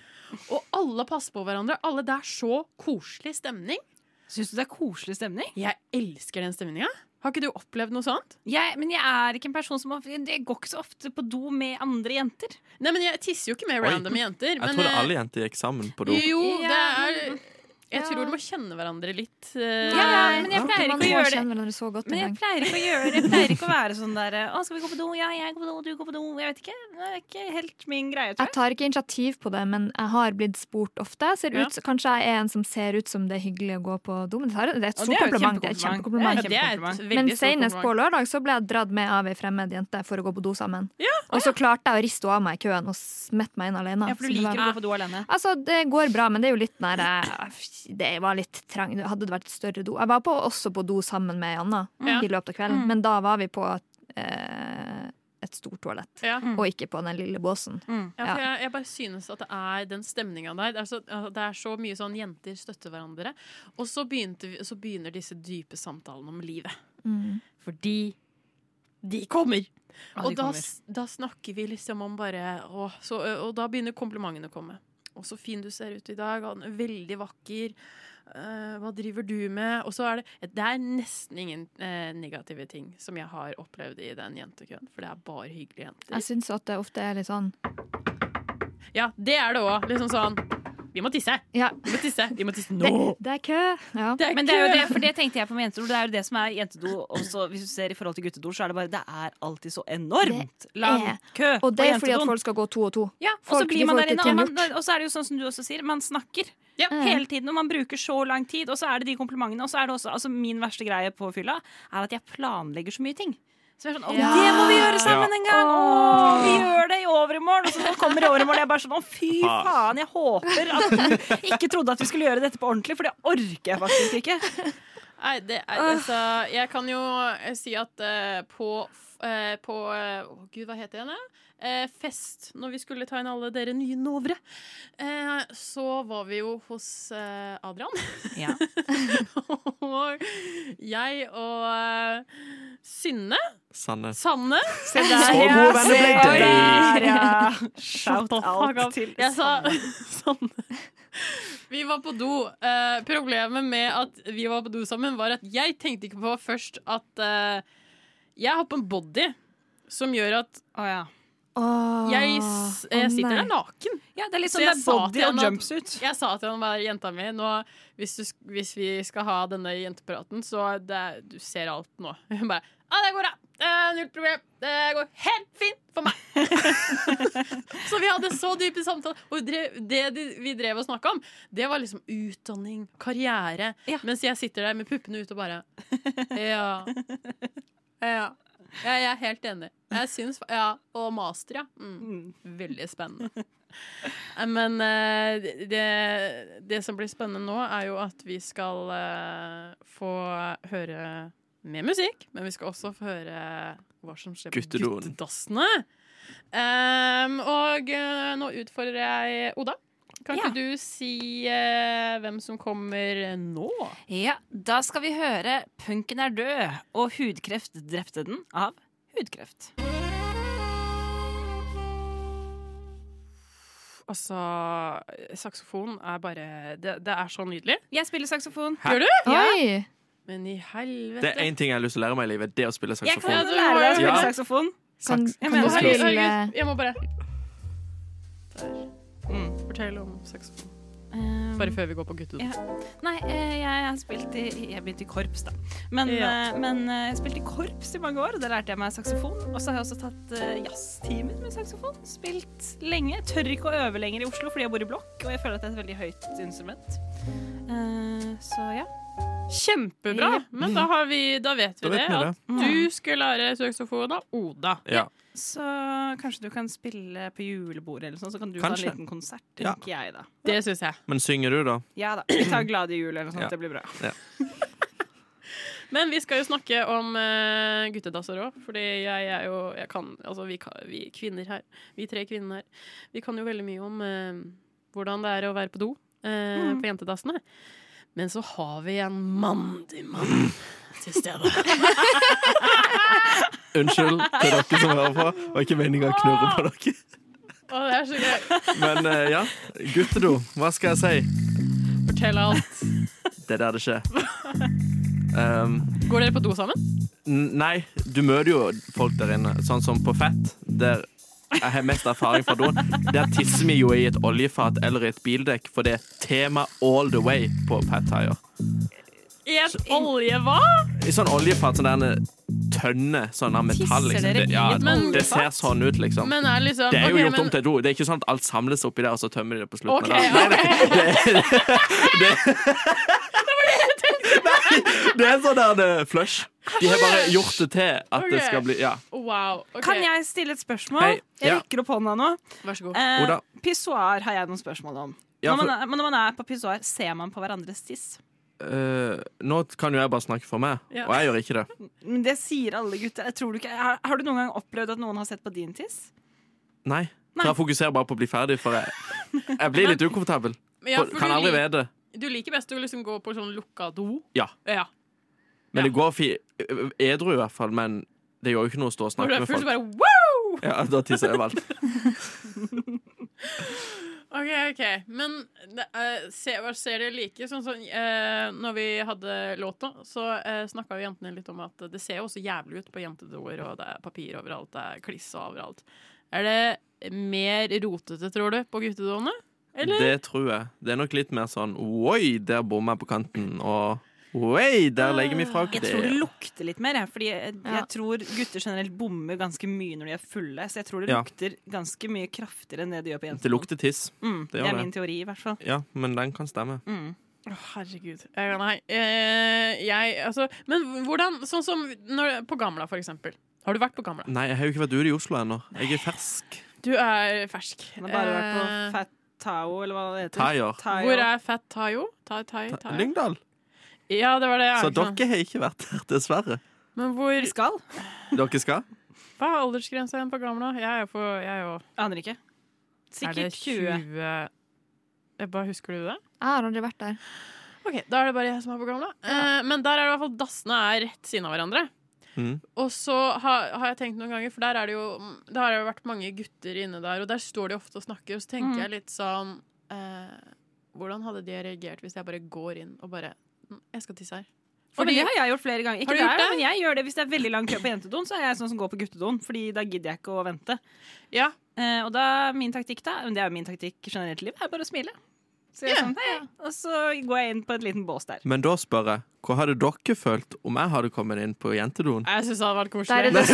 Speaker 3: og alle passer på hverandre. Alle Det er så koselig stemning.
Speaker 5: Syns du det er koselig stemning?
Speaker 3: Jeg elsker den stemninga. Har ikke du opplevd noe sånt?
Speaker 5: Jeg, men jeg er ikke en person som ofte, Jeg går ikke så ofte på do med andre jenter.
Speaker 3: Nei, men Jeg tisser jo ikke med
Speaker 1: Oi.
Speaker 3: random jenter.
Speaker 1: Jeg
Speaker 3: men,
Speaker 1: trodde
Speaker 3: eh,
Speaker 1: alle jenter gikk sammen på do.
Speaker 3: Jo, det
Speaker 4: Ja.
Speaker 3: er Jeg tror du må kjenne hverandre litt. eh,
Speaker 5: Ja, ja, men jeg
Speaker 4: tror
Speaker 5: pleier
Speaker 4: man
Speaker 5: ikke å
Speaker 4: må
Speaker 5: gjøre det.
Speaker 4: kjenne hverandre så godt
Speaker 5: Men jeg
Speaker 4: engang.
Speaker 5: pleier ikke å gjøre det. Jeg pleier ikke å være sånn der Å, skal vi gå på do? Ja, jeg går på do, du går på do. Jeg vet ikke. Det er ikke helt min greie, tror
Speaker 4: Jeg
Speaker 5: jeg.
Speaker 4: tar ikke initiativ på det, men jeg har blitt spurt ofte. Ser
Speaker 3: Ja.
Speaker 4: ut, Kanskje jeg er en som ser ut som det er hyggelig å gå på do, men det er- det er et
Speaker 5: Og
Speaker 4: stort
Speaker 5: det er jo
Speaker 4: kompliment. Det er et
Speaker 5: kjempekompliment.
Speaker 4: kjempekompliment.
Speaker 3: det er et
Speaker 5: Kjempekompliment.
Speaker 3: veldig
Speaker 4: Men
Speaker 3: stort
Speaker 4: senest på
Speaker 3: kompliment.
Speaker 4: lørdag så ble jeg dratt med av ei fremmed jente for å gå på do sammen. Og så klarte jeg å riste henne av meg i køen og smette meg inn alene.
Speaker 5: Ja, for
Speaker 4: Så
Speaker 5: du
Speaker 4: det var-
Speaker 5: liker å gå på do alene.
Speaker 4: Altså, det går bra, men det er jo litt nær Det var litt trang Hadde det vært et større do Jeg var på, også på do sammen med Anna
Speaker 3: Ja.
Speaker 4: i løpet av kvelden, men da var vi på eh, et stort toalett,
Speaker 3: Ja.
Speaker 4: og ikke på den lille båsen.
Speaker 3: Ja, for jeg, jeg bare synes at det er den stemninga der. Det er, så, altså, det er så mye sånn jenter støtter hverandre. Og så, begynte, vi- så begynner disse dype samtalene om livet. Fordi de kommer!
Speaker 5: Ja, de
Speaker 3: og da,
Speaker 5: kommer.
Speaker 3: s- da snakker vi liksom om bare å, så, ø, Og da begynner komplimentene å komme. Å, så fin du ser ut i dag. Han er Veldig vakker. Eh, hva driver du med? Og så er det Det er nesten ingen eh, negative ting som jeg har opplevd i den jentekøen. For det er bare hyggelige jenter.
Speaker 4: Jeg syns at det ofte er litt sånn
Speaker 5: Altså-
Speaker 3: Ja, det er det òg. Liksom sånn Vi må tisse!
Speaker 4: Ja,
Speaker 3: Vi må tisse, vi må tisse
Speaker 4: det,
Speaker 3: nå!
Speaker 4: det er kø! Ja.
Speaker 5: Men det er jo det, for det tenkte jeg på med jentedo. Det er jo det som er jentedo også, hvis du ser i forhold til guttedo, så er det bare Det er alltid så enormt lang
Speaker 4: er-
Speaker 5: kø
Speaker 4: Og det er
Speaker 5: på
Speaker 4: fordi at
Speaker 5: jentedoen.
Speaker 4: folk skal gå to og to.
Speaker 5: ja, og så
Speaker 4: folk- de
Speaker 5: blir man
Speaker 4: får
Speaker 5: der
Speaker 4: ikke
Speaker 5: inne, og,
Speaker 4: ting
Speaker 5: man, og så er det jo sånn som du også sier, man snakker
Speaker 3: Ja.
Speaker 5: hele tiden, og man bruker så lang tid, og så er det de komplimentene, og så er det også altså Min verste greie på fylla er at jeg planlegger så mye ting. Så jeg er sånn, «Å,
Speaker 4: Ja.
Speaker 5: Det må vi gjøre sammen
Speaker 1: Ja.
Speaker 5: en gang! Å, vi gjør det i overmorgen! Og så kommer i overmorgen, og jeg bare sånn Å, fy faen! Jeg håper at du ikke trodde at vi skulle gjøre dette på ordentlig, for det orker jeg faktisk ikke.
Speaker 3: Nei, det er altså Jeg kan jo eh, si at eh, på f- eh, på eh, Å, gud, hva heter den? eh? Eh, fest, når vi skulle ta inn alle dere nye novere, eh, så var vi jo hos eh, Adrian.
Speaker 10: Ja.
Speaker 3: og jeg og eh, Synne
Speaker 1: Sanne.
Speaker 3: Sanne.
Speaker 10: Se der,
Speaker 1: Så god
Speaker 10: ja. Se
Speaker 1: vennepliktig.
Speaker 10: der, ja. Shout
Speaker 3: the fuck
Speaker 10: out
Speaker 3: up.
Speaker 10: til
Speaker 3: Jeg sa
Speaker 10: Sanne.
Speaker 3: Sanne. Vi var på do. Eh, problemet med at vi var på do sammen, var at jeg tenkte ikke på først at eh, jeg har på en body som gjør at Å ja.
Speaker 4: Åh,
Speaker 3: Jeg, s-
Speaker 4: å
Speaker 3: jeg sitter
Speaker 4: nei.
Speaker 3: der naken.
Speaker 5: Ja, det er litt
Speaker 3: Så
Speaker 5: sånn det
Speaker 3: jeg
Speaker 5: er
Speaker 3: sa
Speaker 5: body
Speaker 3: til
Speaker 5: og
Speaker 3: henne at-
Speaker 5: jumpsuit.
Speaker 3: Jeg sa til henne bare jenta mi nå, hvis, du, sk- hvis vi skal ha denne jentepraten, så det, er- du ser alt nå. Hun bare Ja, det går bra. Eh, null problem. Det går helt fint for meg. så vi hadde så dype samtaler. Og drev, det de- vi drev og snakka om, det var liksom utdanning, karriere.
Speaker 5: Ja.
Speaker 3: Mens jeg sitter der med puppene ute og bare Ja. Ja. Ja, jeg er helt enig. Jeg syns, ja, Og master, ja. Mm. Veldig spennende. Eh, Men eh, det, det som blir spennende nå, er jo at vi skal eh, få høre mer musikk. Men vi skal også få høre hva som skjer på
Speaker 1: Guttedoen.
Speaker 3: guttedassene. Em, og eh, nå utfordrer jeg Oda. Kan
Speaker 10: Ja.
Speaker 3: ikke du si eh, hvem som kommer nå?
Speaker 10: Ja,
Speaker 5: Da skal vi høre 'Punken er død' og 'Hudkreft drepte den' av hudkreft.
Speaker 3: Altså, saksofon er bare Det, det er så nydelig.
Speaker 5: Jeg spiller saksofon.
Speaker 3: Gjør du?
Speaker 4: Oi!
Speaker 3: Men i
Speaker 1: Det
Speaker 3: helvete.
Speaker 1: er én ting jeg har lyst til å lære meg i livet, det er å spille
Speaker 5: Jeg kan
Speaker 1: saksofon.
Speaker 3: du
Speaker 5: lære deg å spille
Speaker 1: Ja.
Speaker 5: saksofon.
Speaker 4: Kan,
Speaker 1: Saks-
Speaker 4: kan
Speaker 3: Å,
Speaker 4: du
Speaker 1: mener-
Speaker 3: herregud,
Speaker 4: spille
Speaker 3: herregud, jeg må bare Mm. Der. Fortell om saksofon.
Speaker 5: Ehm,
Speaker 3: Bare før vi går på guttedoen.
Speaker 5: Ja. Nei, eh, jeg har spilt i Jeg begynte i korps, da. Men,
Speaker 3: Ja.
Speaker 5: eh, men eh, jeg spilte i korps i mange år, og da lærte jeg meg saksofon. Og så har jeg også tatt eh, jazztimer med saksofon. Spilt lenge. Tør ikke å øve lenger i Oslo fordi jeg bor i blokk, og jeg føler at det er et veldig høyt instrument. Eh, så ja.
Speaker 3: Kjempebra!
Speaker 5: Ja.
Speaker 3: Men da, har vi, da vet vi
Speaker 1: Da vet
Speaker 3: det.
Speaker 1: vi det.
Speaker 3: At du skal lære saksofon av Oda.
Speaker 1: Ja.
Speaker 5: Så kanskje du kan spille på julebordet eller sånn, så kan du
Speaker 1: Kanskje.
Speaker 5: ta en liten konsert,
Speaker 1: Ja.
Speaker 5: tenker jeg da.
Speaker 3: Det syns jeg.
Speaker 1: Men synger du, da?
Speaker 5: Ja da. Vi tar Glade jul eller noe sånt,
Speaker 1: Ja.
Speaker 5: det blir bra.
Speaker 3: Men vi skal jo snakke om eh, guttedasser òg, fordi jeg er jo jeg kan, Altså, vi, kan, vi kvinner her, vi tre kvinnene her, vi kan jo veldig mye om eh, hvordan det er å være på do eh, på jentedassene. Men så har vi en mandig mann til stede.
Speaker 1: Unnskyld til dere som hører på. Det var ikke meninga å knurre på dere.
Speaker 3: Å, det er så gøy.
Speaker 1: Men eh, ja, guttedo. Hva skal jeg si?
Speaker 3: Fortell alt.
Speaker 1: Det er der det skjer. Um,
Speaker 3: Går dere på do sammen?
Speaker 1: n- nei, du møter jo folk der inne. Sånn som på Fett, der jeg har mest erfaring fra doen. Der tisser vi jo i et oljefat eller i et bildekk, for det er tema all the way på Fat Tire.
Speaker 3: I et olje, hva?
Speaker 1: I sånn oljefat, sånn der tønne, sånn av metall.
Speaker 5: Tisser
Speaker 1: Liksom.
Speaker 5: dere
Speaker 1: Det,
Speaker 5: i
Speaker 1: ja,
Speaker 5: et
Speaker 3: oljefat?
Speaker 1: det ser sånn ut, liksom.
Speaker 3: Men er liksom
Speaker 1: Det er jo
Speaker 3: ok,
Speaker 1: gjort
Speaker 3: men-
Speaker 1: om til et do. Det er ikke sånn at alt samles oppi der, og så tømmer de det på slutten.
Speaker 3: Ok,
Speaker 1: av dagen. Nei, nei, det, det er sånn der eh, flush. De har bare gjort det til at det
Speaker 3: Ok.
Speaker 1: skal bli Ja.
Speaker 3: Wow. ok.
Speaker 5: Kan jeg stille et spørsmål?
Speaker 1: Hei,
Speaker 5: Jeg
Speaker 1: ja.
Speaker 5: rekker opp hånda nå.
Speaker 3: Vær så god.
Speaker 5: Eh,
Speaker 1: Oda.
Speaker 5: pissoar har jeg noen spørsmål om.
Speaker 1: ja
Speaker 5: når,
Speaker 1: for,
Speaker 5: man er, men når man er på pissoar, ser man på hverandres tiss.
Speaker 1: eh, nå kan jo jeg bare snakke for meg,
Speaker 3: Ja.
Speaker 1: og jeg gjør ikke det.
Speaker 5: Men det sier alle gutter. Jeg tror du ikke, har, har du noen gang opplevd at noen har sett på din tiss?
Speaker 1: Nei.
Speaker 5: Nei.
Speaker 1: Så jeg fokuserer bare på å bli ferdig, for jeg, jeg blir litt ukomfortabel.
Speaker 3: Men ja, for
Speaker 1: kan
Speaker 3: du
Speaker 1: aldri
Speaker 3: lik-
Speaker 1: vite.
Speaker 3: Du liker best å liksom gå på sånn lukka do?
Speaker 1: Ja.
Speaker 3: ja.
Speaker 1: Men det går fi Edru, i hvert fall. Men det gjør jo ikke noe å stå og
Speaker 3: Når du
Speaker 1: snakke
Speaker 3: er
Speaker 1: med
Speaker 3: full, så
Speaker 1: folk.
Speaker 3: bare wow!
Speaker 1: Ja, da tisser jeg overalt.
Speaker 3: OK, OK. Men det, eh, se, hva ser dere like? Sånn som eh, når vi hadde låt nå, så uh, snakka jo jentene litt om at det ser jo også jævlig ut på jentedoer, og det er papir overalt, det er klisse overalt. Er det mer rotete, tror du, på guttedoene? Eller?
Speaker 1: Det tror jeg. Det er nok litt mer sånn Oi, der bommer jeg på kanten. Og oi, der legger vi
Speaker 3: Ah,
Speaker 1: fra oss
Speaker 5: Jeg tror det
Speaker 1: det.
Speaker 5: lukter litt mer, jeg. Fordi jeg,
Speaker 4: Ja.
Speaker 5: jeg tror gutter generelt bommer ganske mye når de er fulle. Så jeg tror det
Speaker 1: Ja.
Speaker 5: lukter ganske mye kraftigere enn det de gjør på
Speaker 1: Det
Speaker 5: jenter.
Speaker 1: lukter tiss.
Speaker 5: Mm,
Speaker 1: det
Speaker 5: det,
Speaker 1: gjør
Speaker 5: er
Speaker 1: det.
Speaker 5: min teori, i hvert fall.
Speaker 1: Ja, men den kan stemme.
Speaker 5: Mm.
Speaker 3: Å, herregud. Eh, nei. Eh, jeg, altså Men hvordan Sånn som når, på Gamla, for eksempel. Har du vært på Gamla?
Speaker 1: Nei, jeg har jo ikke vært ute i Oslo ennå. Jeg er fersk.
Speaker 3: Du er fersk.
Speaker 5: Han har bare vært på
Speaker 3: Eh,
Speaker 5: Fat Tao, eller hva det heter.
Speaker 1: Taier.
Speaker 5: Tao.
Speaker 3: Hvor er Fat Tayo? Ta, tai, tai.
Speaker 1: Lyngdal.
Speaker 3: Ja, det var det jeg
Speaker 1: Så
Speaker 3: sa.
Speaker 1: dere har ikke vært der, dessverre.
Speaker 3: Men hvor Vi skal.
Speaker 1: Dere skal?
Speaker 3: Hva er aldersgrensa igjen på gamla? Jeg er jo på Jeg er jo
Speaker 5: Aner ikke. Sikkert
Speaker 3: er det
Speaker 5: 20.
Speaker 3: Jeg bare Husker du det?
Speaker 4: Jeg har aldri vært der.
Speaker 3: OK, da er det bare jeg som er på gamla. Eh, men der er det i hvert fall dassene er rett siden av hverandre.
Speaker 1: Mm.
Speaker 3: Og så har, har jeg tenkt noen ganger, for der er det jo Det har jo vært mange gutter inne der, og der står de ofte og snakker, og så tenker
Speaker 5: Mm.
Speaker 3: jeg litt sånn eh, Hvordan hadde de reagert hvis jeg bare går inn og bare "Mm, Jeg skal tisse her.
Speaker 5: Fordi, det har jeg gjort flere ganger. Ikke
Speaker 3: Har du
Speaker 5: der,
Speaker 3: gjort det?
Speaker 5: men jeg gjør det Hvis det er veldig lang kø på jentedoen, så er jeg sånn som går på guttedoen. Fordi da gidder jeg ikke å vente. Eh, og da, min taktikk da, men det er jo min taktikk generelt i livet, er bare å smile. Så jeg er sånn, hei, og så går jeg inn på et liten bås der.
Speaker 1: Men da spør jeg, hva hadde dere følt om jeg hadde kommet inn på jentedoen?
Speaker 3: Jeg syns det hadde vært
Speaker 4: Der er
Speaker 3: koselig.
Speaker 4: det,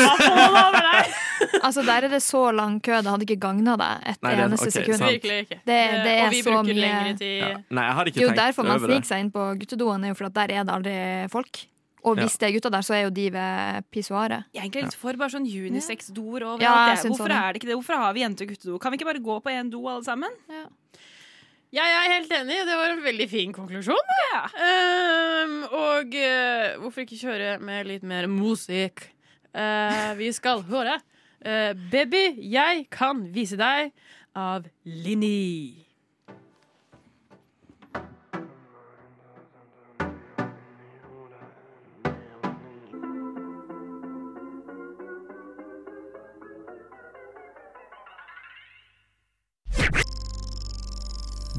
Speaker 3: så,
Speaker 4: altså, der er det så lang kø. Det hadde ikke gagna deg et
Speaker 1: Nei, det-
Speaker 4: eneste
Speaker 1: ok, sant.
Speaker 4: sekund.
Speaker 3: Virkelig ikke.
Speaker 4: Det,
Speaker 3: Eh,
Speaker 4: det
Speaker 3: og
Speaker 4: er
Speaker 3: vi
Speaker 4: så
Speaker 3: bruker
Speaker 4: mye
Speaker 3: lengre tid.
Speaker 1: Ja. Nei, jeg hadde
Speaker 4: Det er
Speaker 1: ikke
Speaker 4: jo
Speaker 1: tenkt
Speaker 4: derfor man
Speaker 1: over det.
Speaker 4: sniker seg inn på guttedoen, er jo for at der er det aldri folk. Og hvis det er gutter der, så er jo de ved pissoaret.
Speaker 5: Jeg er egentlig litt for bare sånn unisex-doer overalt.
Speaker 4: Ja, jeg
Speaker 5: jeg. sånn.
Speaker 4: syns
Speaker 5: Hvorfor
Speaker 4: også det.
Speaker 5: er det ikke det? Hvorfor har vi jente- og guttedo? Kan vi ikke bare gå på én do alle sammen?
Speaker 3: Jeg er helt enig. Det var en veldig fin konklusjon. Ehm, og eh, hvorfor ikke kjøre med litt mer musikk? Eh, vi skal høre eh, 'Baby, jeg kan vise deg' av Linni.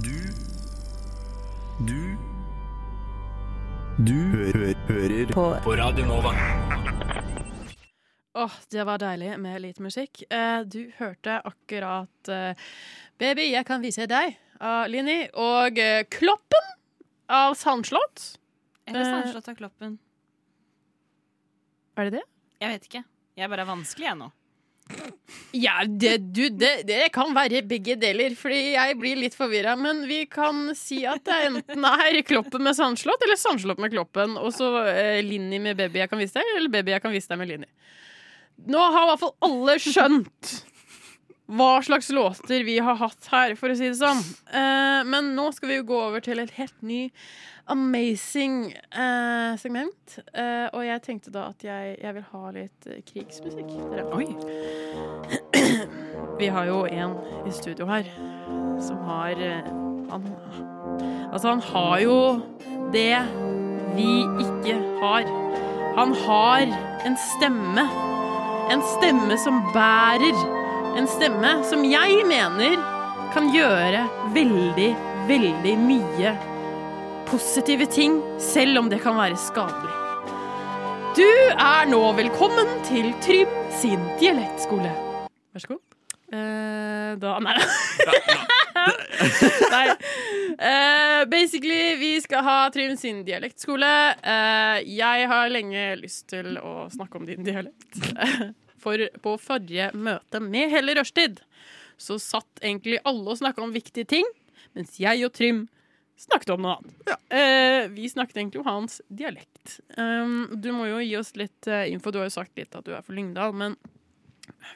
Speaker 11: Du Du Du hø hø hører på. Radio Nova.
Speaker 3: Åh, det var deilig med litt musikk. Eh, du hørte akkurat eh, 'Baby, jeg kan vise deg' av Linni, og eh, 'Kloppen' av Sandslott.
Speaker 5: Eller sandslott av kloppen?
Speaker 3: Eh, er det det?
Speaker 5: Jeg vet ikke. Jeg bare er vanskelig, jeg nå.
Speaker 3: Ja, det, du, det, det kan være begge deler, fordi jeg blir litt forvirra. Men vi kan si at det enten er Kloppen med Sandslott eller Sandslott med Kloppen. Og så eh, Linni med Baby jeg kan vise deg, eller Baby jeg kan vise deg med Linni. Nå har i hvert fall alle skjønt hva slags låter vi har hatt her, for å si det sånn. Eh, men nå skal vi jo gå over til et helt ny amazing eh, segment. Eh, og jeg tenkte da at jeg, jeg vil ha litt eh, krigsmusikk. Dere. Vi har jo en i studio her som har eh, han, Altså, han har jo det vi ikke har. Han har en stemme. En stemme som bærer. En stemme som jeg mener kan gjøre veldig, veldig mye positive ting, selv om det kan være skadelig. Du er nå velkommen til Trym sin dialektskole. Vær så god. Eh, da Nei. nei. Eh, basically, vi skal ha Trym sin dialektskole. Eh, jeg har lenge lyst til å snakke om din dialekt. For på forrige møte med Helle Rørstid så satt egentlig alle og snakka om viktige ting, mens jeg og Trym snakket om noe annet. Eh, vi snakket egentlig om hans dialekt. Um, du må jo gi oss litt eh, info. Du har jo sagt litt at du er fra Lyngdal, men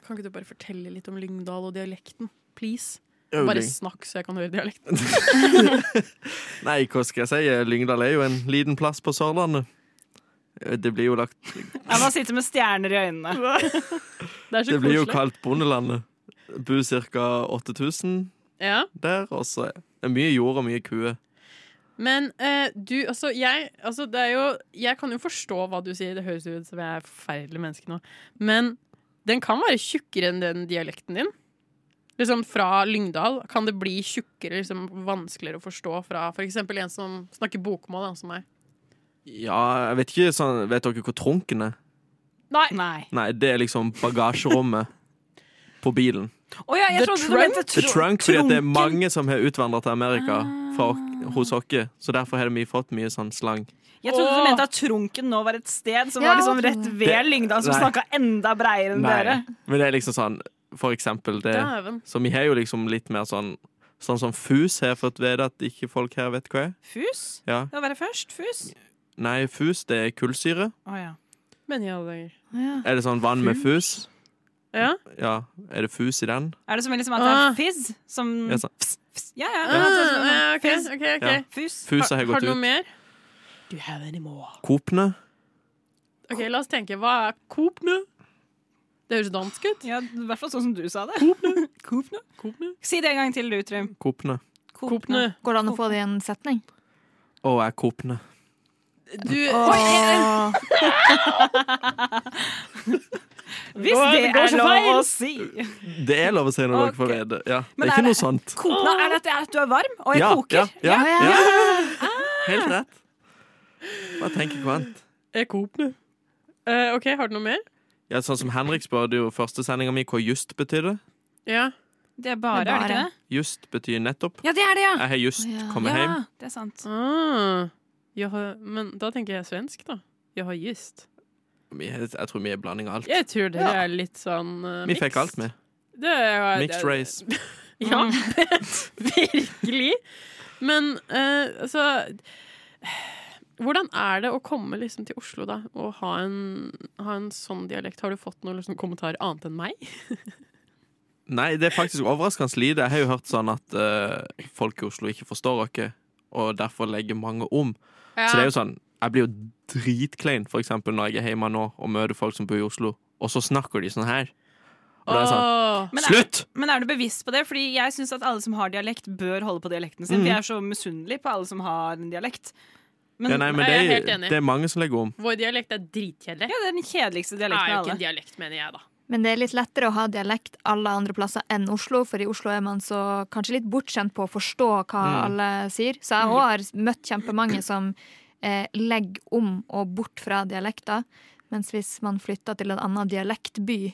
Speaker 3: kan ikke du bare fortelle litt om Lyngdal og dialekten? Please.
Speaker 1: Jo,
Speaker 3: Bare
Speaker 1: Lyng-
Speaker 3: snakk, så jeg kan høre dialekten.
Speaker 1: Nei, hva skal jeg si? Lyngdal er jo en liten plass på Sørlandet. Eh, Det blir jo lagt
Speaker 5: Jeg bare sitter med stjerner i øynene.
Speaker 3: Det,
Speaker 1: Det blir jo kalt Bondelandet. Det Bor ca. 8000
Speaker 3: Ja.
Speaker 1: der, og så er det mye jord og mye kuer.
Speaker 3: Men eh, du, altså jeg altså, det er jo, Jeg kan jo forstå hva du sier, det høres jo ut som jeg er et forferdelig menneske nå, men den kan være tjukkere enn den dialekten din. Liksom Fra Lyngdal kan det bli tjukkere, liksom vanskeligere å forstå fra f.eks. en som snakker bokmål, da, som meg.
Speaker 1: Ja, jeg vet ikke sånn Vet dere hvor trunken er?
Speaker 3: Nei.
Speaker 1: Nei, det er liksom bagasjerommet på bilen.
Speaker 5: Å ja, jeg
Speaker 3: The
Speaker 5: trodde du
Speaker 3: trunk?
Speaker 5: mente
Speaker 1: The trunk, fordi at det er mange som har utvandret til Amerika fra, ok- hos oss, så derfor har vi fått mye sånn slang.
Speaker 5: Jeg trodde du
Speaker 3: Åh.
Speaker 5: mente at Trunken nå var et sted som
Speaker 3: Ja,
Speaker 5: var liksom rett ved
Speaker 1: Det-
Speaker 5: Lyngdal, som
Speaker 1: Nei.
Speaker 5: snakka enda breiere enn dere.
Speaker 1: Men det er liksom sånn, for eksempel det
Speaker 5: Dæven.
Speaker 1: Så vi har jo liksom litt mer sånn Sånn som fus har jeg fått vite at ikke folk her vet hva er.
Speaker 5: Fus?
Speaker 1: Ja.
Speaker 5: Det å være først. Fus.
Speaker 1: Nei, fus det er kullsyre.
Speaker 5: Å ja.
Speaker 3: Men i alle dager.
Speaker 1: Er det sånn vann med fus?
Speaker 3: Ja.
Speaker 1: Ja. Er det fus i den?
Speaker 5: Er det som liksom at det
Speaker 3: Ah.
Speaker 5: er fizz? Som
Speaker 1: Ja, sånn.
Speaker 5: Ja, sånn- ja.
Speaker 3: Ah,
Speaker 5: ja.
Speaker 3: ja, ok, ok, ok.
Speaker 1: Ja.
Speaker 5: Fus.
Speaker 1: Fus har jeg gått
Speaker 3: Har du
Speaker 1: ut.
Speaker 3: noe mer? Do you have any more?
Speaker 1: Coopene.
Speaker 3: Ok, La oss tenke. Hva er Coop nå? Det høres dansk ut.
Speaker 5: Ja, I hvert fall sånn som du sa det. Kopne. Kopne. Si det en gang til, du, Trym.
Speaker 1: Coopene.
Speaker 3: Kopne.
Speaker 4: Går det an å få det i en setning?
Speaker 1: Å, jeg er Coopene.
Speaker 3: Du
Speaker 5: Ah. Hvis
Speaker 3: Åh,
Speaker 5: det
Speaker 3: det går
Speaker 5: er
Speaker 3: så
Speaker 5: lov
Speaker 3: feil.
Speaker 5: å si.
Speaker 1: Det er lov å si når dere får vite. Ja. Det er ikke noe sånt.
Speaker 5: Kopne, er det at jeg- at du er varm, og jeg
Speaker 1: ja,
Speaker 5: koker?
Speaker 1: Ja, ja, ja.
Speaker 5: Ah.
Speaker 1: Helt rett. Hva tenker Kvant?
Speaker 3: Er Coop nå? Eh, OK, har du noe mer?
Speaker 1: Ja, sånn som Henrik spurte jo første sendinga mi hva just betydde.
Speaker 3: Ja.
Speaker 5: Det er bare, er det ikke det?
Speaker 1: Just betyr nettopp.
Speaker 5: Ja, det er det, ja.
Speaker 1: Jeg har just kommet
Speaker 5: ja,
Speaker 1: hjem.
Speaker 5: det er sant.
Speaker 3: Ah, jeg har, men da tenker jeg svensk, da. Jeg har gist.
Speaker 1: Vi- Jeg tror vi er blanding av alt.
Speaker 3: Jeg tror dere
Speaker 1: Ja.
Speaker 3: er litt sånn uh,
Speaker 1: Vi fikk alt med.
Speaker 3: Det er-
Speaker 1: Mixed race.
Speaker 3: Ja, virkelig. Men eh, altså Hvordan er det å komme liksom til Oslo da og ha en, ha en sånn dialekt? Har du fått noen liksom, kommentarer annet enn meg?
Speaker 1: Nei, det er faktisk overraskende lite. Jeg har jo hørt sånn at eh, folk i Oslo ikke forstår oss, og derfor legger mange om.
Speaker 3: Ja.
Speaker 1: Så det er jo sånn, jeg blir jo dritklein, for eksempel når jeg er hjemme nå og møter folk som bor i Oslo, og så snakker de sånn her. Og da er det sånn,
Speaker 5: Men er-
Speaker 1: slutt!
Speaker 5: Men er du bevisst på det? Fordi jeg syns at alle som har dialekt, bør holde på dialekten sin.
Speaker 1: Mhm.
Speaker 5: For jeg er så misunnelig på alle som har en dialekt.
Speaker 1: ja, nei, men det,
Speaker 3: jeg er helt
Speaker 1: er,
Speaker 3: enig.
Speaker 1: det er mange som legger om.
Speaker 3: Vår dialekt er dritkjedelig.
Speaker 5: Ja, det er den kjedeligste
Speaker 3: Det er
Speaker 5: dialekten
Speaker 3: jo
Speaker 5: av
Speaker 3: ikke en
Speaker 5: alle.
Speaker 3: dialekt, mener jeg, da.
Speaker 4: Men det er litt lettere å ha dialekt alle andre plasser enn Oslo, for i Oslo er man så kanskje litt bortskjemt på å forstå hva
Speaker 1: Mm.
Speaker 4: alle sier. Så jeg også har møtt kjempemange som eh, legger om og bort fra dialekter. Mens hvis man flytter til en annen dialektby,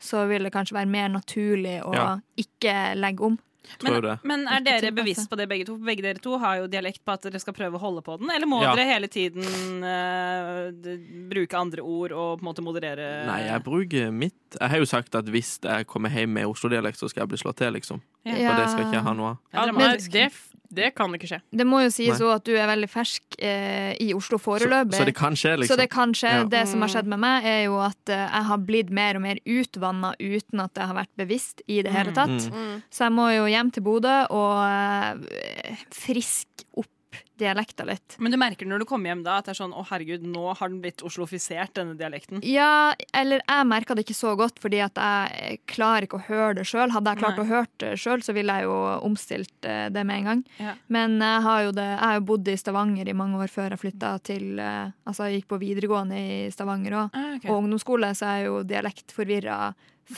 Speaker 4: så vil det kanskje være mer naturlig å
Speaker 1: Ja.
Speaker 4: ikke legge om.
Speaker 1: Tror det.
Speaker 5: Men er
Speaker 4: Ikke
Speaker 5: dere
Speaker 4: tilpasse.
Speaker 5: bevisst på det, begge to? For Begge dere to har jo dialekt på at dere skal prøve å holde på den. Eller må
Speaker 1: Ja.
Speaker 5: dere hele tiden eh, d- bruke andre ord og på en måte moderere
Speaker 1: Nei, jeg bruker mitt. Jeg har jo sagt at hvis jeg kommer hjem med Oslo-dialekt, så skal jeg bli slått til, liksom.
Speaker 5: Ja.
Speaker 1: Og det skal ikke jeg ha noe av.
Speaker 3: Ja,
Speaker 5: det er
Speaker 3: nei,
Speaker 5: dramatisk.
Speaker 3: det, det kan ikke skje.
Speaker 4: Det må jo sies
Speaker 1: Nei.
Speaker 4: òg at du er veldig fersk eh, i Oslo
Speaker 1: Så,
Speaker 4: foreløpig.
Speaker 1: så det kan skje, liksom.
Speaker 4: Så det kan skje.
Speaker 1: Ja.
Speaker 4: Det som har skjedd med meg, er jo at eh, jeg har blitt mer og mer utvanna uten at det har vært bevisst i det
Speaker 1: Mm.
Speaker 4: hele tatt.
Speaker 5: Mm.
Speaker 4: Så jeg må jo hjem til Bodø og eh, friske opp dialekta litt.
Speaker 5: Men du merker når du kommer hjem da at det er sånn å herregud, nå har den blitt oslofisert, denne dialekten.
Speaker 4: Ja, eller jeg merka det ikke så godt, fordi at jeg eh, klarer ikke å høre det sjøl. Hadde jeg klart
Speaker 5: Nei.
Speaker 4: å høre det sjøl, så ville jeg jo omstilt eh, det med en gang.
Speaker 5: Ja.
Speaker 4: Men jeg har jo, det, jeg har jo bodd i Stavanger i mange år før jeg flytta til eh, Altså jeg gikk på videregående i Stavanger òg.
Speaker 5: Ah, ok.
Speaker 4: Og ungdomsskole, så er jeg jo dialektforvirra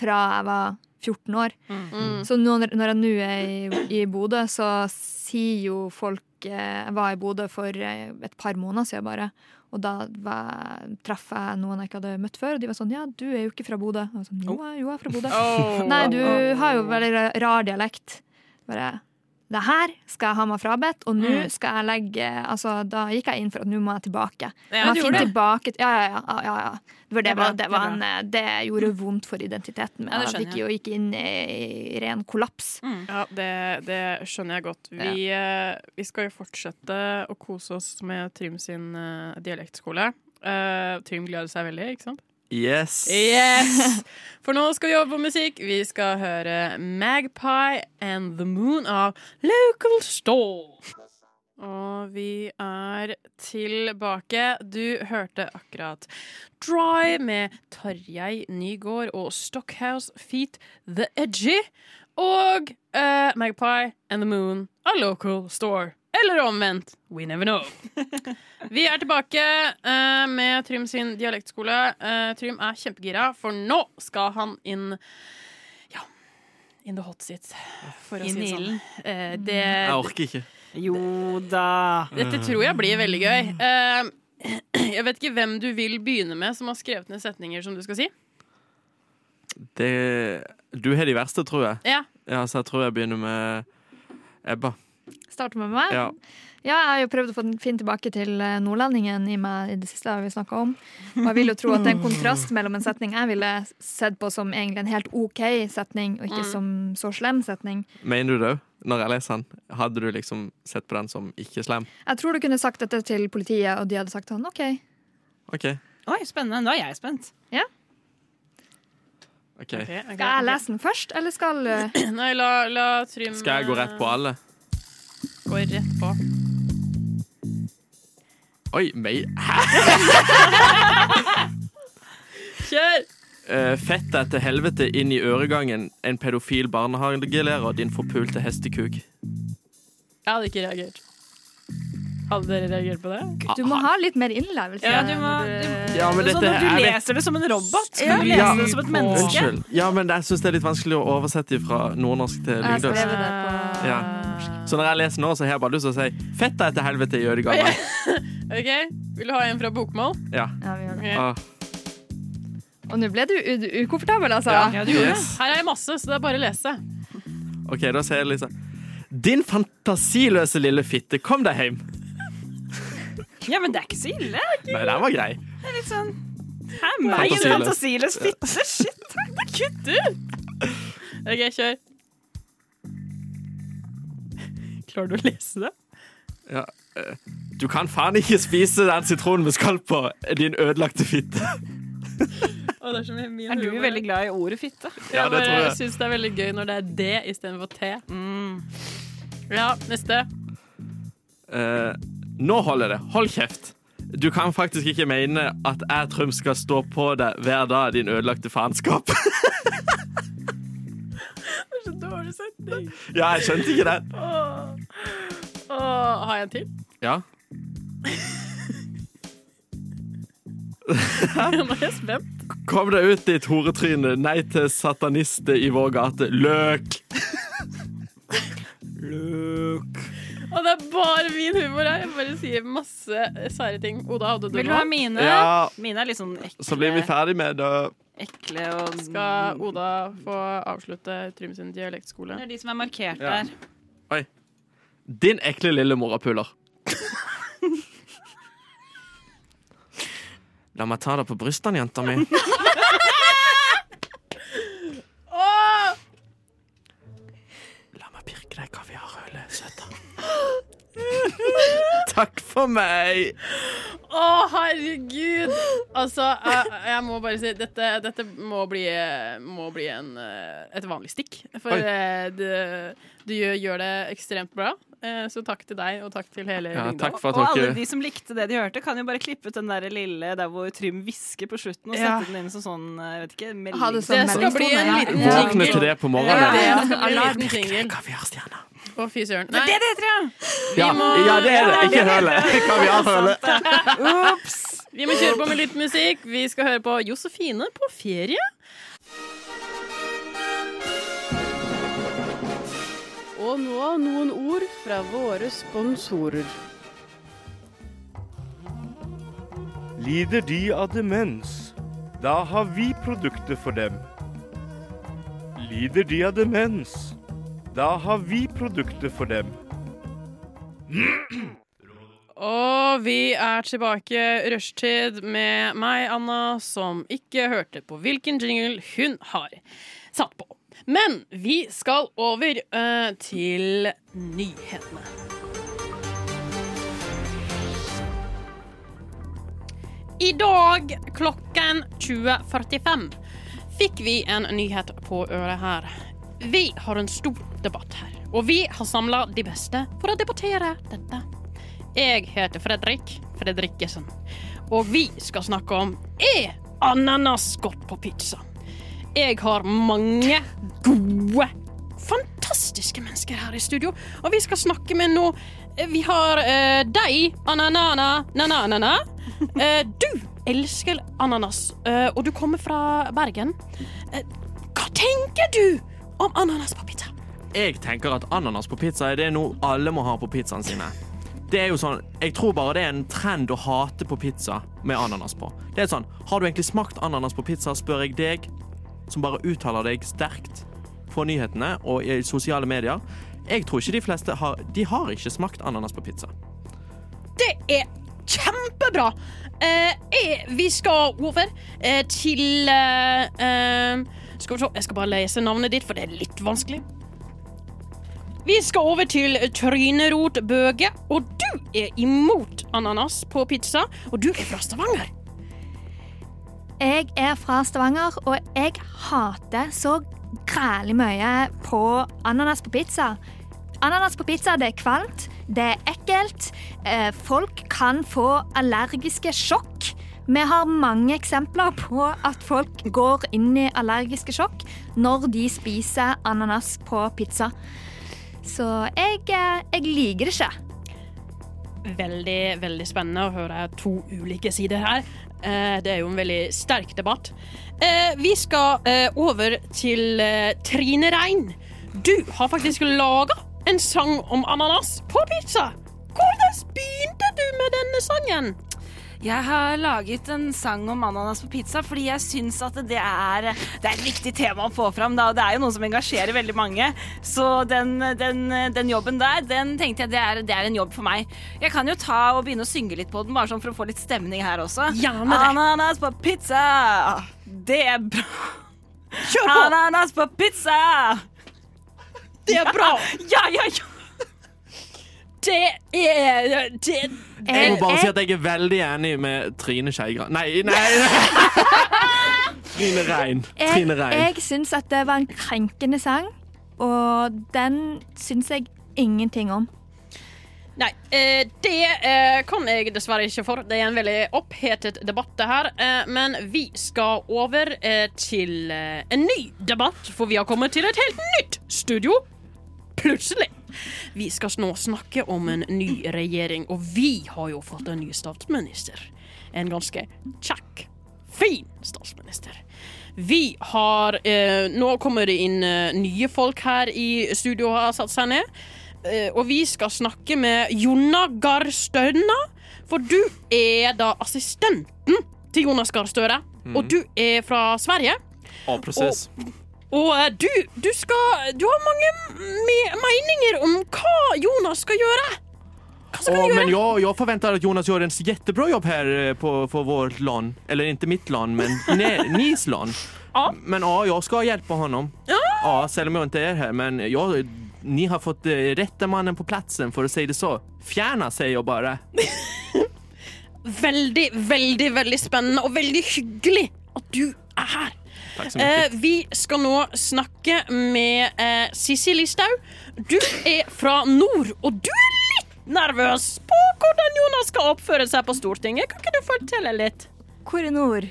Speaker 4: fra jeg var 14 år.
Speaker 3: Mm.
Speaker 4: Så nå, når jeg nå er i, i Bodø, så sier jo folk eh, Jeg var i Bodø for eh, et par måneder siden bare. Og da var, traff jeg noen jeg ikke hadde møtt før, og de var sånn 'Ja, du er jo ikke fra Bodø.' Og jeg var sånn, jo, jeg, jo, jeg er fra Bodø.
Speaker 3: Oh.
Speaker 4: Nei, du har jo veldig ra- rar dialekt. Bare det her skal jeg ha meg frabedt, og nå skal jeg legge Altså, da gikk jeg inn for at nå må jeg tilbake.
Speaker 3: Ja,
Speaker 4: Må
Speaker 3: du
Speaker 4: jeg
Speaker 3: gjorde
Speaker 4: finne
Speaker 3: det.
Speaker 4: tilbake til, ja, ja, ja, ja, ja. For det,
Speaker 5: Det er bra,
Speaker 4: var, det,
Speaker 5: det er
Speaker 4: var
Speaker 5: bra.
Speaker 4: en, eh, det gjorde vondt for identiteten min.
Speaker 5: Ja, det
Speaker 4: jeg
Speaker 5: skjønner
Speaker 4: gikk jo gikk inn i, i ren kollaps.
Speaker 3: Ja, det, det skjønner jeg godt. Vi, eh, vi skal jo fortsette å kose oss med Trym sin eh, dialektskole. Eh, Trym gleder seg veldig, ikke sant?
Speaker 1: Yes!
Speaker 3: Yes! For nå skal vi over på musikk. Vi skal høre Magpie and The Moon av Local Stall. Og vi er tilbake. Du hørte akkurat Dry med Tarjei Nygård og Stockhouse Feet The Edgy. Og eh, Magpie and The Moon av Local Store. Eller omvendt. We never know. Vi er tilbake eh, med Trym sin dialektskole. Eh, Trym er kjempegira, for nå skal han inn Ja, in the hot seat, for å
Speaker 5: I
Speaker 3: si det sånn.
Speaker 5: Nilen.
Speaker 3: Eh, det,
Speaker 1: Jeg orker ikke.
Speaker 5: Jo da.
Speaker 3: dette tror jeg blir veldig gøy. Eh, jeg vet ikke hvem du vil begynne med, som har skrevet ned setninger som du skal si.
Speaker 1: Det, du har de verste, tror jeg.
Speaker 3: Ja.
Speaker 1: Ja, så jeg tror jeg begynner med Ebba.
Speaker 4: Starter med meg.
Speaker 1: Ja.
Speaker 4: Ja, jeg har jo prøvd å få den- finne tilbake til eh, nordlendingen i meg i det siste. har vi snakket om. Og jeg vil jo tro at det er en kontrast mellom en setning jeg ville sett på som egentlig en helt OK setning, og ikke som så slem setning.
Speaker 1: Mener du det òg? Når jeg leser den, hadde du liksom sett på den som ikke slem?
Speaker 4: Jeg tror du kunne sagt dette til politiet, og de hadde sagt sånn OK.
Speaker 1: OK.
Speaker 5: Oi, spennende. Nå er jeg spent.
Speaker 1: ok
Speaker 4: Skal jeg lese den først, eller skal eh,
Speaker 3: Nei, la, la Trym eh,
Speaker 1: Skal jeg gå rett på alle?
Speaker 3: Gå rett på.
Speaker 1: Å Oi, mei... Hæ?
Speaker 3: Kjør!
Speaker 1: Eh, fett deg til helvete inn i øregangen, en pedofil barnehagelærer, din forpulte hestekuk.
Speaker 3: Jeg hadde ikke reagert. Hadde dere reagert på det?
Speaker 4: Du
Speaker 1: Ah,
Speaker 4: må ha litt mer innlevelse.
Speaker 5: Ja, du må, du,
Speaker 1: Ja, men
Speaker 5: sånn
Speaker 1: dette-
Speaker 5: at du
Speaker 1: jeg vet-
Speaker 5: leser det som en robot. Skal
Speaker 1: Ja.
Speaker 5: du lese det som et menneske?
Speaker 1: Unnskyld. Ja, men jeg syns det er litt vanskelig å oversette fra nordnorsk til
Speaker 5: Jeg skrev
Speaker 1: lyngdalsk.
Speaker 5: det på-
Speaker 1: Ja. Så når jeg leser nå, så har jeg bare lyst til å si 'fett deg til helvete i øregangen'.
Speaker 3: OK, vil du ha en fra bokmål?
Speaker 1: Ja.
Speaker 3: Ok.
Speaker 1: Ah,
Speaker 4: Og nå ble du u- ukomfortabel, altså.
Speaker 1: Ja. Ja, du gjorde det. Yes.
Speaker 3: Her er jeg masse, så det er bare å lese.
Speaker 1: OK, da sier jeg liksom Din fantasiløse lille fitte, kom deg hjem.
Speaker 5: Ja, men det er ikke så ille.
Speaker 1: Nei, den var grei.
Speaker 5: Det er litt sånn Hæ, meg? En
Speaker 1: Fantasiløs.
Speaker 5: fantasiløs fitte? Shit, det kutter!
Speaker 3: OK, kjør. Klarer du å lese det?
Speaker 1: Ja. eh, Du kan faen ikke spise den sitronen med skall på, eh, din ødelagte fitte.
Speaker 3: Å, det er, så mye min
Speaker 5: Er du
Speaker 3: humor.
Speaker 5: veldig glad i ordet fitte?
Speaker 1: Ja,
Speaker 3: jeg
Speaker 1: det tror
Speaker 3: bare
Speaker 1: jeg.
Speaker 3: syns det er veldig gøy når det er D istedenfor T. Mm. Ja, neste.
Speaker 1: Eh, nå holder det. Hold kjeft. Du kan faktisk ikke mene at jeg, Trym, skal stå på deg hver dag, din ødelagte faenskap.
Speaker 3: Det er så dårlig setning.
Speaker 1: ja, jeg skjønte ikke den.
Speaker 3: Åh. Åh, har jeg en til?
Speaker 1: Ja.
Speaker 3: Nå er jeg spent.
Speaker 1: Kom deg ut, ditt horetryne. Nei til satanister i vår gate. Løk! Løk
Speaker 3: Og det er bare min humor her. Jeg bare sier masse sære ting. Oda, hadde du
Speaker 5: Vil du
Speaker 3: noe?
Speaker 5: ha mine?
Speaker 1: Ja.
Speaker 5: Mine er litt sånn ekle.
Speaker 1: Så blir vi ferdig med det.
Speaker 5: ekle og
Speaker 1: Mm.
Speaker 3: Skal Oda få avslutte Trym sin dialektskole?
Speaker 5: Det er de som er markert
Speaker 1: Ja.
Speaker 5: der.
Speaker 1: Oi. Din ekle lille morapuler. La meg ta deg på brystene, jenta mi.
Speaker 3: Åh!
Speaker 1: Pirke deg kaviarhøle, søta. Takk for meg!
Speaker 3: Å, herregud! Altså, jeg, jeg må bare si Dette, dette må bli, må bli en, eh, et vanlig stikk. For
Speaker 1: Oi.
Speaker 3: eh, du, du gjør, gjør det ekstremt bra. Eh, Så takk til deg, og takk til hele
Speaker 1: Ja,
Speaker 3: Lyngdal.
Speaker 1: takk for at
Speaker 5: Og alle
Speaker 1: dere
Speaker 5: de som likte det de hørte, kan jo bare klippe ut den der lille der hvor Trym hvisker på slutten, og
Speaker 3: Ja.
Speaker 5: sette den inn som sånn, jeg vet ikke, melding.
Speaker 3: Ha det som Det skal meldingstone, bli en ja. liten
Speaker 1: Våkne til det på
Speaker 3: Ja,
Speaker 1: morgenen.
Speaker 3: det skal bli en liten jingle. Å, fy søren. Nei.
Speaker 5: Det er det heter, ja!
Speaker 1: Ja, ja, det er det. Ikke høle. Kaviarhøle.
Speaker 3: Ops! Vi må kjøre på med litt musikk. Vi skal høre på Josefine på ferie. Og nå noen ord fra våre sponsorer.
Speaker 12: Lider de av demens? Da har vi produktet for dem. Lider de av demens? Da har vi produktet for dem.
Speaker 3: Og vi er tilbake rushtid med meg, Anna, som ikke hørte på hvilken jingle hun har satt på. Men vi skal over eh, til nyhetene. I dag klokken 20.45 fikk vi en nyhet på øret her. Vi har en stor debatt her, og vi har samla de beste for å debattere dette. Jeg heter Fredrik Fredrikkesen. Og vi skal snakke om Er ananas godt på pizza? Jeg har mange gode, fantastiske mennesker her i studio, og vi skal snakke med nå Vi har eh, deg, ananana, nananana. Eh, du elsker ananas, eh, og du kommer fra Bergen. Eh, hva tenker du om ananas på pizza?
Speaker 1: Jeg tenker at ananas på pizza er det noe alle må ha på pizzaen sine. Det er jo sånn, Jeg tror bare det er en trend å hate på pizza med ananas på. Det er sånn, Har du egentlig smakt ananas på pizza, spør jeg deg, som bare uttaler deg sterkt på nyhetene og i sosiale medier. Jeg tror ikke de fleste har De har ikke smakt ananas på pizza.
Speaker 3: Det er kjempebra! Eh, eh, vi skal over eh, til eh, eh, Skal vi se, jeg skal bare lese navnet ditt, for det er litt vanskelig. Vi skal over til Trynerot Bøge, og du er imot ananas på pizza. Og du er fra Stavanger.
Speaker 4: Jeg er fra Stavanger, og jeg hater så grælig mye på ananas på pizza. Ananas på pizza det er kvalmt, det er ekkelt. Eh, folk kan få allergiske sjokk. Vi har mange eksempler på at folk går inn i allergiske sjokk når de spiser ananas på pizza. Så jeg, eh, jeg liker det ikke.
Speaker 3: Veldig, veldig spennende å høre to ulike sider her. Eh, Det er jo en veldig sterk debatt. Eh, Vi skal eh, over til eh, Trine Rein. Du har faktisk laga en sang om ananas på pizza. Hvordan begynte du med denne sangen?
Speaker 5: Jeg har laget en sang om ananas på pizza fordi jeg syns at det er, det er et viktig tema å få fram. Da. og Det er jo noe som engasjerer veldig mange. Så den, den, den jobben der, den tenkte jeg det er, det er en jobb for meg. Jeg kan jo ta og begynne å synge litt på den, bare sånn for å få litt stemning her også.
Speaker 3: Gjerne det.
Speaker 5: Ananas på pizza! Det er bra.
Speaker 3: Kjør på!
Speaker 5: Ananas på pizza! Ah,
Speaker 3: Det er bra!
Speaker 5: Ja, ja, ja!
Speaker 3: Det er Det
Speaker 1: Jeg må bare si at jeg er veldig enig med Trine Skei Gran... Nei, nei! nei. Trine Rein.
Speaker 4: Jeg,
Speaker 1: Trine Rein.
Speaker 4: jeg syns at det var en krenkende sang, og den syns jeg ingenting om.
Speaker 3: Nei, eh, det eh, kan jeg dessverre ikke for. Det er en veldig opphetet debatt, det her. Eh, men vi skal over eh, til eh, en ny debatt, for vi har kommet til et helt nytt studio. Plutselig. Vi skal nå snakke om en ny regjering, og vi har jo fått en ny statsminister. En ganske kjekk, fin statsminister. Vi har eh, Nå kommer det inn eh, nye folk her i studio og har satt seg ned. Eh, og vi skal snakke med Jonna Gahr Støna, for du er da assistenten til Jonas Gahr Støre.
Speaker 1: Mm.
Speaker 3: Og du er fra Sverige.
Speaker 1: Og prosess.
Speaker 3: Og eh, du, du skal Du har mange me meninger om hva Jonas skal gjøre.
Speaker 1: Åh, men jag, jag förväntar att Jonas gör en jättebra jobb här eh, på, på vårt land. Eller inte mitt land, men ne, Nis land. Men ja, jag ska hjälpa honom. Ja, även om jag inte är här. Men jag, ni har fått eh, rätta mannen på platsen, för att säga det så. Fjärna, säger jag bara.
Speaker 3: Veldig, veldig, veldig spennende og veldig hyggelig at du er her.
Speaker 1: Takk så
Speaker 3: Eh,
Speaker 1: mye.
Speaker 3: vi skal nå snakke med eh, Sissi Listhaug. Du er fra nord, og du er litt nervøs på hvordan Jonas skal oppføre seg på Stortinget. Kan ikke du fortelle litt?
Speaker 4: Hvor er nord?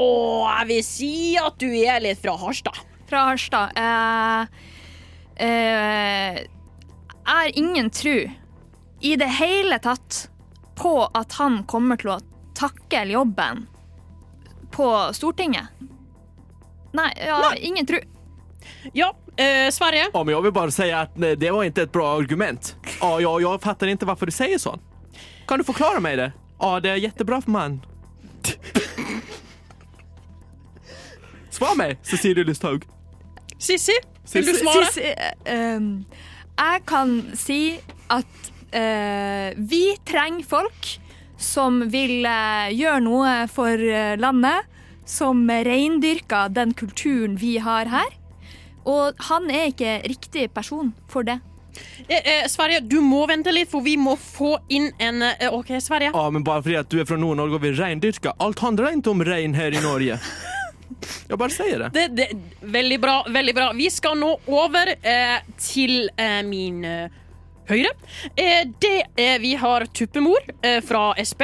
Speaker 3: Å, jeg vil si at du er litt fra Harstad.
Speaker 4: Fra Harstad. Eh, eh, jeg har ingen tru i det hele tatt på at han kommer til å takle jobben på Stortinget. Nei, ja, ingen tru.
Speaker 3: Ja, eh, Sverige.
Speaker 1: Ja, men jag vill bara säga att eh, det var inte ett bra argument. Ja, jag, jag fattar inte varför du säger så. Kan du förklara mig det? Ja, det är jättebra man. Svar mig, Cecilia Lysthaug.
Speaker 3: Sissi,
Speaker 1: vil du svare?
Speaker 4: Sissi, eh, ehm, jeg kan si at eh, vi trenger folk som vil eh, gjøre noe for eh, landet, som reindyrker den kulturen vi har her. Og han er ikke riktig person for det.
Speaker 3: Eh, eh, Sverige, du må vente litt, for vi må få inn en eh, OK, Sverige.
Speaker 1: Ja, men bara för att du är från Nordnorge och vill reindyrka. Allt handlar inte om rein här i Norge. Jag bara säger det.
Speaker 3: Det, det, veldig bra, veldig bra. Vi skal nå over eh, til eh, min eh, høyre. Eh, det eh, Vi har Tuppemor eh, fra Sp.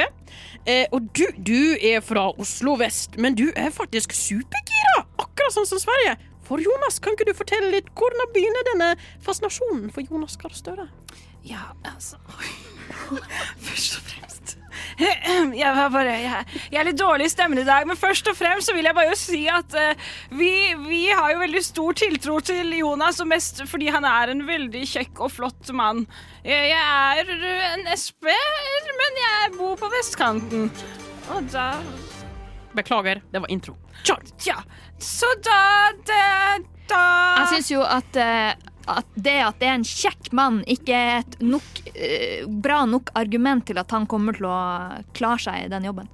Speaker 3: Eh, og du, du er fra Oslo vest, men du er faktisk supergira! Akkurat sånn som Sverige. For Jonas, kan ikke du fortelle litt hvordan begynner denne fascinasjonen for Jonas Gahr Støre?
Speaker 5: Ja, altså oi. Først og fremst jeg, var bare, jeg, jeg er litt dårlig i stemmen i dag, men først og fremst så vil jeg bare si at eh, vi, vi har jo veldig stor tiltro til Jonas, og mest fordi han er en veldig kjekk og flott mann. Eh, Jeg, jeg er en SP-er, men jeg bor på vestkanten. Og da
Speaker 3: Beklager, det var intro.
Speaker 5: Ja, så da det, da
Speaker 1: Ah.
Speaker 4: Jeg syns jo at, eh, at det at det er en kjekk mann, ikke er et nok, eh, bra nok argument til at han kommer til å klare seg i den jobben.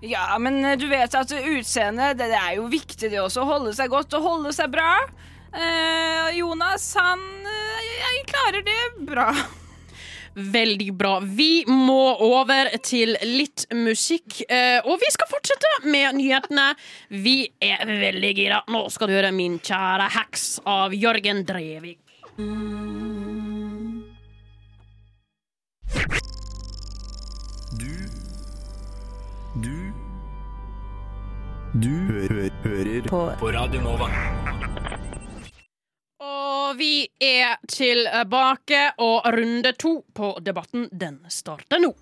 Speaker 5: Ja, men eh, du vet at utseendet det, det er jo viktig det også. Å holde seg godt og holde seg bra. Eh, Jonas, han eh, jeg klarer det bra.
Speaker 3: Veldig bra. Vi må over til litt musikk. eh, Og vi skal fortsette med nyhetene. Vi er veldig gira. Nå skal du høre min kjære hacks av Jørgen Drevik.
Speaker 11: Du Du Du hø hø hører på. på Radio Nova.
Speaker 3: Og vi er tilbake, og runde to på debatten, den starter nå.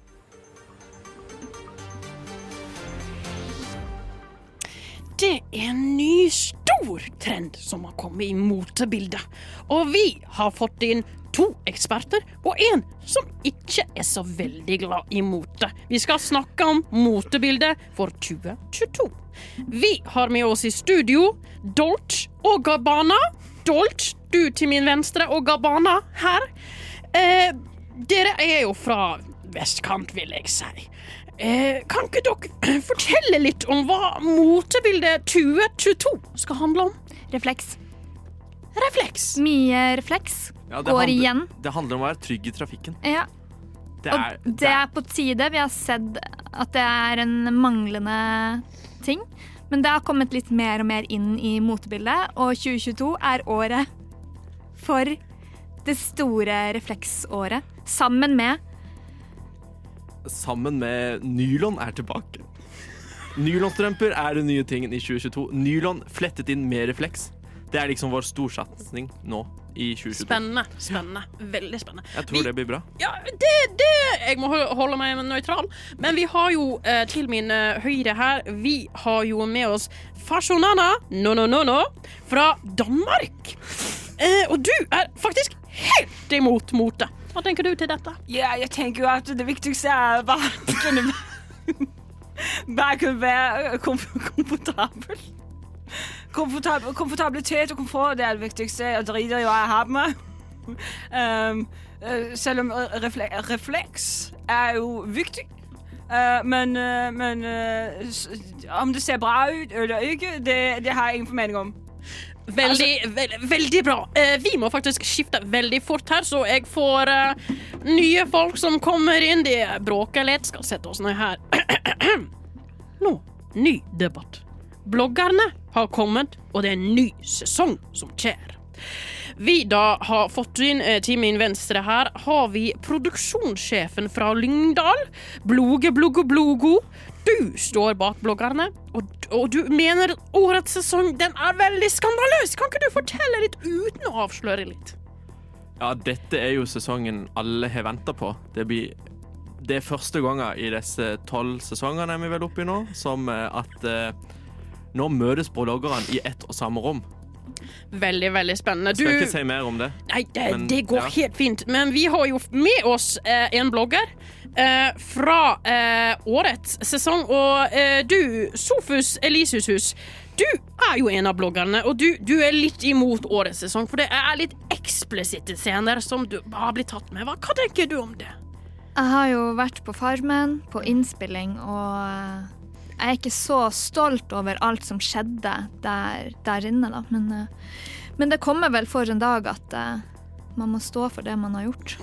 Speaker 3: Det er en ny stor trend som har kommet i motebildet. Og vi har fått inn to eksperter og en som ikke er så veldig glad i mote. Vi skal snakke om motebildet for 2022. Vi har med oss i studio Dolce og Gabbana. Dolce, du til min venstre, og Gabbana her. Eh, dere er jo fra vestkant, vil jeg si. Eh, kan ikke dere fortelle litt om hva motebildet 2022 skal handle om?
Speaker 4: Refleks.
Speaker 3: Refleks.
Speaker 4: Mye refleks
Speaker 1: Ja, det
Speaker 4: går
Speaker 1: handler-
Speaker 4: igjen.
Speaker 1: Det handler om å være trygg i trafikken.
Speaker 4: Ja.
Speaker 1: Det er,
Speaker 4: Og det er på tide. Vi har sett at det er en manglende ting. Men det har kommet litt mer og mer inn i motebildet, og 2022 er året for det store refleksåret. Sammen med
Speaker 1: sammen med nylon er tilbake. Nylonstrømper er den nye tingen i 2022. Nylon flettet inn med refleks. Det er liksom vår storsatsing nå i 2022.
Speaker 3: Spennende. spennende, Veldig spennende.
Speaker 1: Jeg tror det blir bra.
Speaker 3: Ja, det, det Jeg må hol- holde meg nøytral. Men vi har jo eh, til min eh, høyre her Vi har jo med oss Fashionana no, no, no, no, fra Danmark. Eh, og du er faktisk helt imot mote. Hva tenker du til dette?
Speaker 5: Ja, jeg tenker jo at det viktigste er bare å kunne Bare kunne være øh, kom komfortabel. komfortabel. Komfortabilitet og komfort det er det viktigste. Jeg driter i hva jeg har på meg. Um, eh, selv om eh, refle refleks er jo viktig. Eh, men eh, men eh, s om det ser bra ut eller ikke, det, det har jeg ingen formening om.
Speaker 3: Veldig, vel- veldig bra. Eh, vi må faktisk skifte veldig fort her, så jeg får eh, nye folk som kommer inn. De bråker litt. Skal sette oss ned her. Nå, ny debatt. Bloggerne har kommet, og det er en ny sesong som skjer. Vi da har fått inn eh, til min venstre her, har vi produksjonssjefen fra Lyngdal. Bloge, bloge, blogo. Du står bak bloggerne, og, og du mener at årets sesong den er veldig skandaløs. Kan ikke du fortelle litt uten å avsløre litt?
Speaker 1: Ja, dette er jo sesongen alle har venta på. Det blir det er første gangen i disse tolv sesongene er vi vel oppe i nå, som eh, at eh, nå møtes bloggerne i ett og samme rom.
Speaker 3: Veldig, veldig spennende.
Speaker 1: Skal ikke si mer om det.
Speaker 3: Nei, det,
Speaker 1: Men,
Speaker 3: det går
Speaker 1: ja.
Speaker 3: helt fint. Men vi har jo med oss eh, en blogger eh, fra eh, årets sesong. Og eh, du, Sofus Elishus, du er jo en av bloggerne, og du, du er litt imot årets sesong. For det er litt eksplisitte scener som du har blitt tatt med. Hva, hva tenker du om det?
Speaker 4: Jeg har jo vært på Farmen, på innspilling, og jeg er ikke så stolt over alt som skjedde der, der inne, da. Men, eh, men det kommer vel for en dag at eh, man må stå for det man har gjort.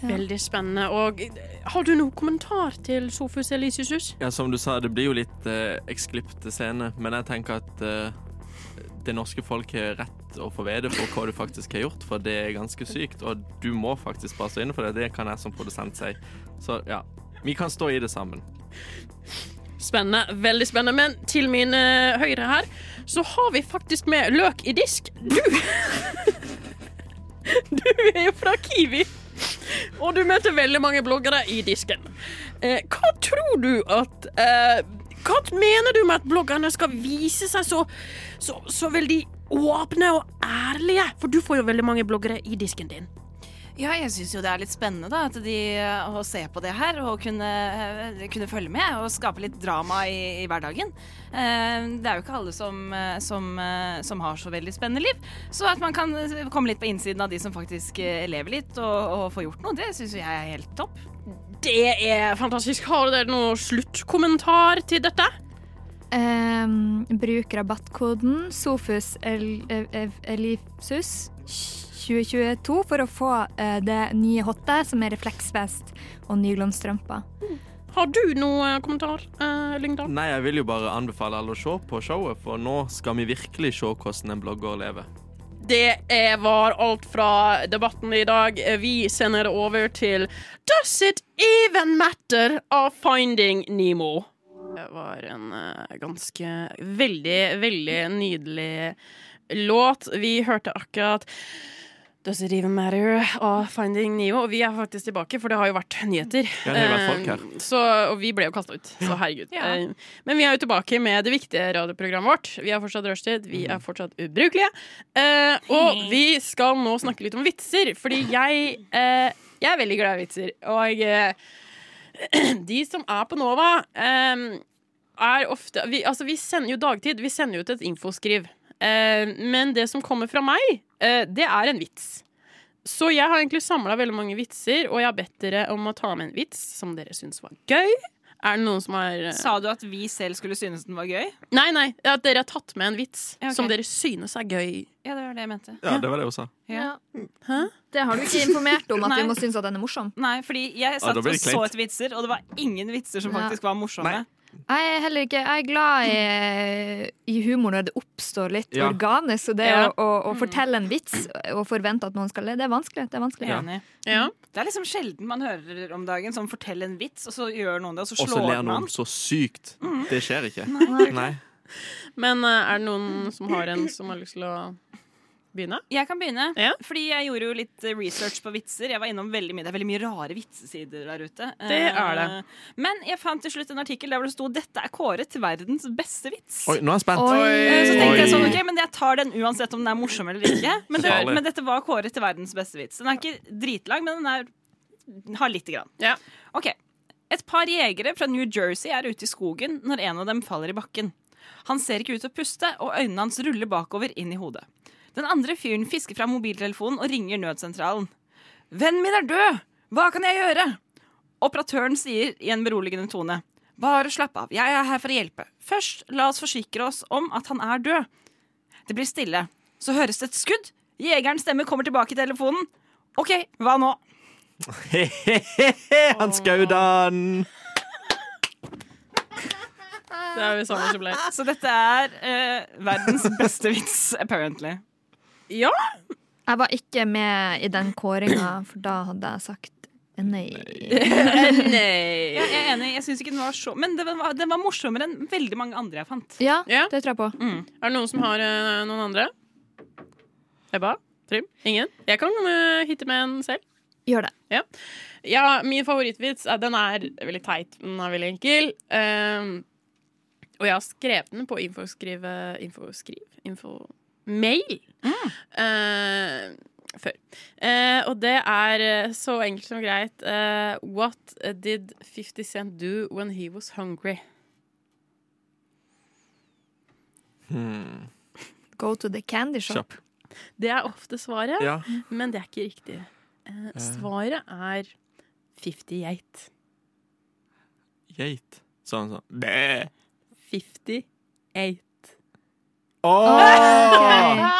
Speaker 3: Veldig spennende. Og eh, har du noen kommentar til Sofus Elishus?
Speaker 1: Ja, som du sa, det blir jo litt eh, eksklipte scener, men jeg tenker at eh, det norske folk har rett å få vite for hva du faktisk har gjort, for det er ganske sykt, og du må faktisk bare stå inne for det. Det kan jeg som produsent si. Så ja, vi kan stå i det sammen.
Speaker 3: Spennende, veldig spennende. Men til min eh, høyre her, så har vi faktisk med løk i disk. Du Du er jo fra Kiwi, og du møter veldig mange bloggere i disken. Eh, hva tror du at eh, Hva mener du med at bloggerne skal vise seg så, så, så veldig åpne og ærlige? For du får jo veldig mange bloggere i disken din.
Speaker 5: Ja, jeg syns jo det er litt spennende da, at de, eh, å se på det her og kunne, eh, kunne følge med og skape litt drama i, i hverdagen. Eh, Det er jo ikke alle som, eh, som, eh, som har så veldig spennende liv. Så at man kan eh, komme litt på innsiden av de som faktisk eh, lever litt og, og får gjort noe, det syns jo jeg er helt topp.
Speaker 3: Det er fantastisk. Har dere noen sluttkommentar til dette?
Speaker 4: Ehm, bruk rabattkoden SOFUS el, ev- ev- elipsus 2022 for å få eh, det nye hotte, som er refleksvest og nylonstrømper.
Speaker 3: Har du noen kommentar, eh, Lyngdal?
Speaker 1: Nei, jeg vil jo bare anbefale alle å se på showet, for nå skal vi virkelig se hvordan en blogger lever.
Speaker 3: Det er- var alt fra debatten i dag. Vi sender det over til Does it even matter av Finding Nemo? Det var en eh, ganske veldig, veldig nydelig låt. Vi hørte akkurat Does it even matter av Finding Nemo? Og vi er faktisk tilbake, for det har jo vært nyheter.
Speaker 1: Ja, det har vært folk her.
Speaker 3: Eh, Så, og vi ble jo kasta ut, så herregud.
Speaker 5: Ja.
Speaker 3: Eh, Men vi er jo tilbake med det viktige radioprogrammet vårt. Vi har fortsatt rushtid, vi
Speaker 1: Mhm.
Speaker 3: er fortsatt ubrukelige. Eh, og vi skal nå snakke litt om vitser, fordi jeg, eh, jeg er veldig glad i vitser. Og eh, de som er på Nova, eh, er ofte vi, Altså, vi sender jo dagtid. Vi sender jo ut et infoskriv. Eh, men det som kommer fra meg, eh, det er en vits. Så jeg har egentlig samla veldig mange vitser, og jeg har bedt dere om å ta med en vits som dere syns var gøy. Er det noen som har eh,
Speaker 5: Sa du at vi selv skulle synes den var gøy?
Speaker 3: Nei, nei. At dere har tatt med en vits
Speaker 5: Ja, ok.
Speaker 3: som dere synes er gøy.
Speaker 5: Ja, det var det jeg mente.
Speaker 1: Ja, det var det jeg også sa.
Speaker 5: Ja.
Speaker 4: Det har du ikke informert om, at
Speaker 5: Nei.
Speaker 4: vi må synes at den er morsom.
Speaker 5: Nei, fordi jeg
Speaker 1: Ja, da
Speaker 5: satt
Speaker 1: blir
Speaker 5: og
Speaker 1: det
Speaker 5: så
Speaker 1: kleint.
Speaker 5: etter vitser, og det var ingen vitser som
Speaker 4: Ja.
Speaker 5: faktisk var morsomme.
Speaker 4: Jeg er heller ikke Jeg er glad i, i humor når det oppstår litt
Speaker 5: Ja.
Speaker 4: organisk. Så det
Speaker 5: Ja. Mm.
Speaker 4: å, å, å fortelle en vits og forvente at noen skal le, det er vanskelig. Det er vanskelig.
Speaker 5: Enig. Det er liksom sjelden man hører om dagen sånn fortell en vits, og så gjør noen det, og så
Speaker 1: Og så
Speaker 5: slår
Speaker 1: ler
Speaker 5: man.
Speaker 1: noen så sykt. Det skjer ikke.
Speaker 5: Nei.
Speaker 1: Mm. Nei.
Speaker 3: Men eh, er det noen som har en som har lyst til å begynne?
Speaker 5: Jeg kan begynne. Fordi jeg gjorde jo litt eh, research på vitser. Jeg var innom veldig mye, Det er veldig mye rare vitsesider der ute.
Speaker 3: Det er det.
Speaker 5: Eh, Men jeg fant til slutt en artikkel der hvor det sto 'Dette er kåret til verdens beste vits'.
Speaker 1: Oi, nå er jeg spent.
Speaker 5: Eh, Så tenkte jeg sånn,
Speaker 1: Oi.
Speaker 5: ok, men jeg tar den uansett om den er morsom eller ikke. Men, det,
Speaker 1: Farlig.
Speaker 5: men dette var kåret til verdens beste vits. Den er ikke dritlang, men den er, har lite grann. Ok. Et par jegere fra New Jersey er ute i skogen når en av dem faller i bakken. Han ser ikke ut til å puste, og øynene hans ruller bakover inn i hodet. Den andre fyren fisker fra mobiltelefonen og ringer nødsentralen. Vennen min er død! Hva kan jeg gjøre? Operatøren sier i en beroligende tone. Bare slapp av, jeg er her for å hjelpe. Først, la oss forsikre oss om at han er død. Det blir stille. Så høres det et skudd. Jegerens stemme kommer tilbake i telefonen. OK, hva nå?
Speaker 1: He-he-he, han skjøt han!
Speaker 3: Det er vi sammen som ble.
Speaker 5: Så dette er eh, verdens beste vits, apparently.
Speaker 3: Ja.
Speaker 4: Jeg var ikke med i den kåringa, for da hadde jeg sagt nei.
Speaker 5: Nei. Jeg er enig. jeg synes ikke den var så Men den var, den var morsommere enn veldig mange andre jeg fant.
Speaker 4: Ja, det tror jeg
Speaker 5: Mm.
Speaker 4: på.
Speaker 3: Er det noen som har eh, noen andre? Ebba? Trym? Ingen? Jeg kan eh, hitte med en selv.
Speaker 4: Gjør det.
Speaker 3: Ja. ja, min favorittvits eh, Den er veldig teit, men den er veldig enkel. Ehm, og jeg har skrevet den på infoskrive... Infoskriv? Info-mail. Eh, før. Eh, og det er eh, så enkelt som greit. eh, what did 50 Cent do when he was hungry?
Speaker 1: Hmm.
Speaker 4: Go to the candy shop.
Speaker 1: Kjapp.
Speaker 3: Det er ofte svaret,
Speaker 1: Ja.
Speaker 3: men det er ikke riktig. Eh, svaret er 50 geit.
Speaker 1: Geit. Sånn sånn. Bæ.
Speaker 3: 50 geit.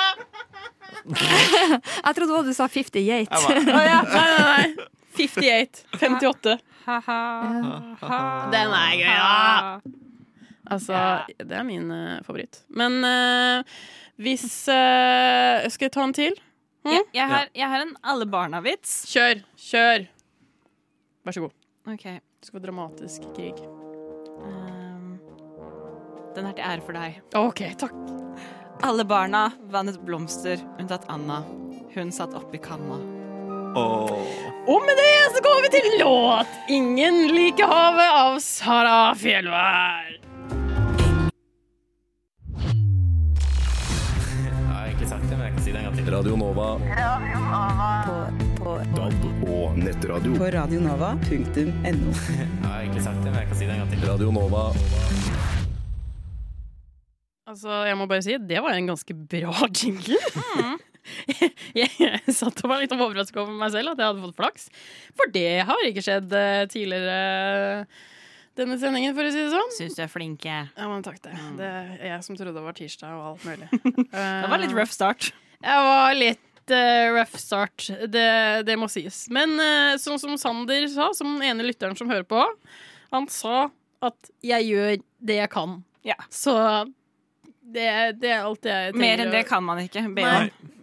Speaker 4: Jeg trodde også du sa 50 geit.
Speaker 3: Å ja. Nei, nei, nei. 58. 58. Den er gøy, da! Altså, det er min eh, favoritt. Men eh, hvis eh, Skal jeg ta en til? Hm?
Speaker 5: Jeg, jeg, har, jeg har en alle barna-vits.
Speaker 3: Kjør. Kjør. Vær så god.
Speaker 5: Ok.
Speaker 3: Det skal være dramatisk krig.
Speaker 5: Ehm, den er til ære for deg.
Speaker 3: OK, takk.
Speaker 5: Alle barna vannet blomster, unntatt Anna. Hun satt oppi kanna.
Speaker 3: Og med det så går vi til låt 'Ingen liker havet' av Sara Fjellvær.
Speaker 11: Jeg har egentlig sagt det, men jeg kan si det en gang til. Radio Nova.
Speaker 6: DAB og nettradio.
Speaker 9: På radionova.no.
Speaker 11: Jeg har egentlig sagt det, men jeg kan si det en gang til. Radio Nova.
Speaker 3: Altså, jeg må bare si, det var en ganske bra jingle. Mm. Jeg, jeg satt og var litt overrasket over meg selv at jeg hadde fått flaks. For det har ikke skjedd eh, tidligere eh, denne sendingen, for å si det sånn.
Speaker 5: Syns du er flinke.
Speaker 3: Ja, men takk det. Det er jeg som trodde det var tirsdag og alt mulig.
Speaker 5: Mm.
Speaker 3: Eh,
Speaker 5: Det var litt rough start.
Speaker 3: Jeg var litt eh, rough start, det, det må sies. Men eh, sånn som Sander sa, som den ene lytteren som hører på, han sa at 'jeg gjør det jeg kan'.
Speaker 5: Ja.
Speaker 3: Så det, det er alt jeg trenger
Speaker 5: Mer enn det
Speaker 3: å-
Speaker 5: kan man ikke be
Speaker 3: Nei.
Speaker 5: om.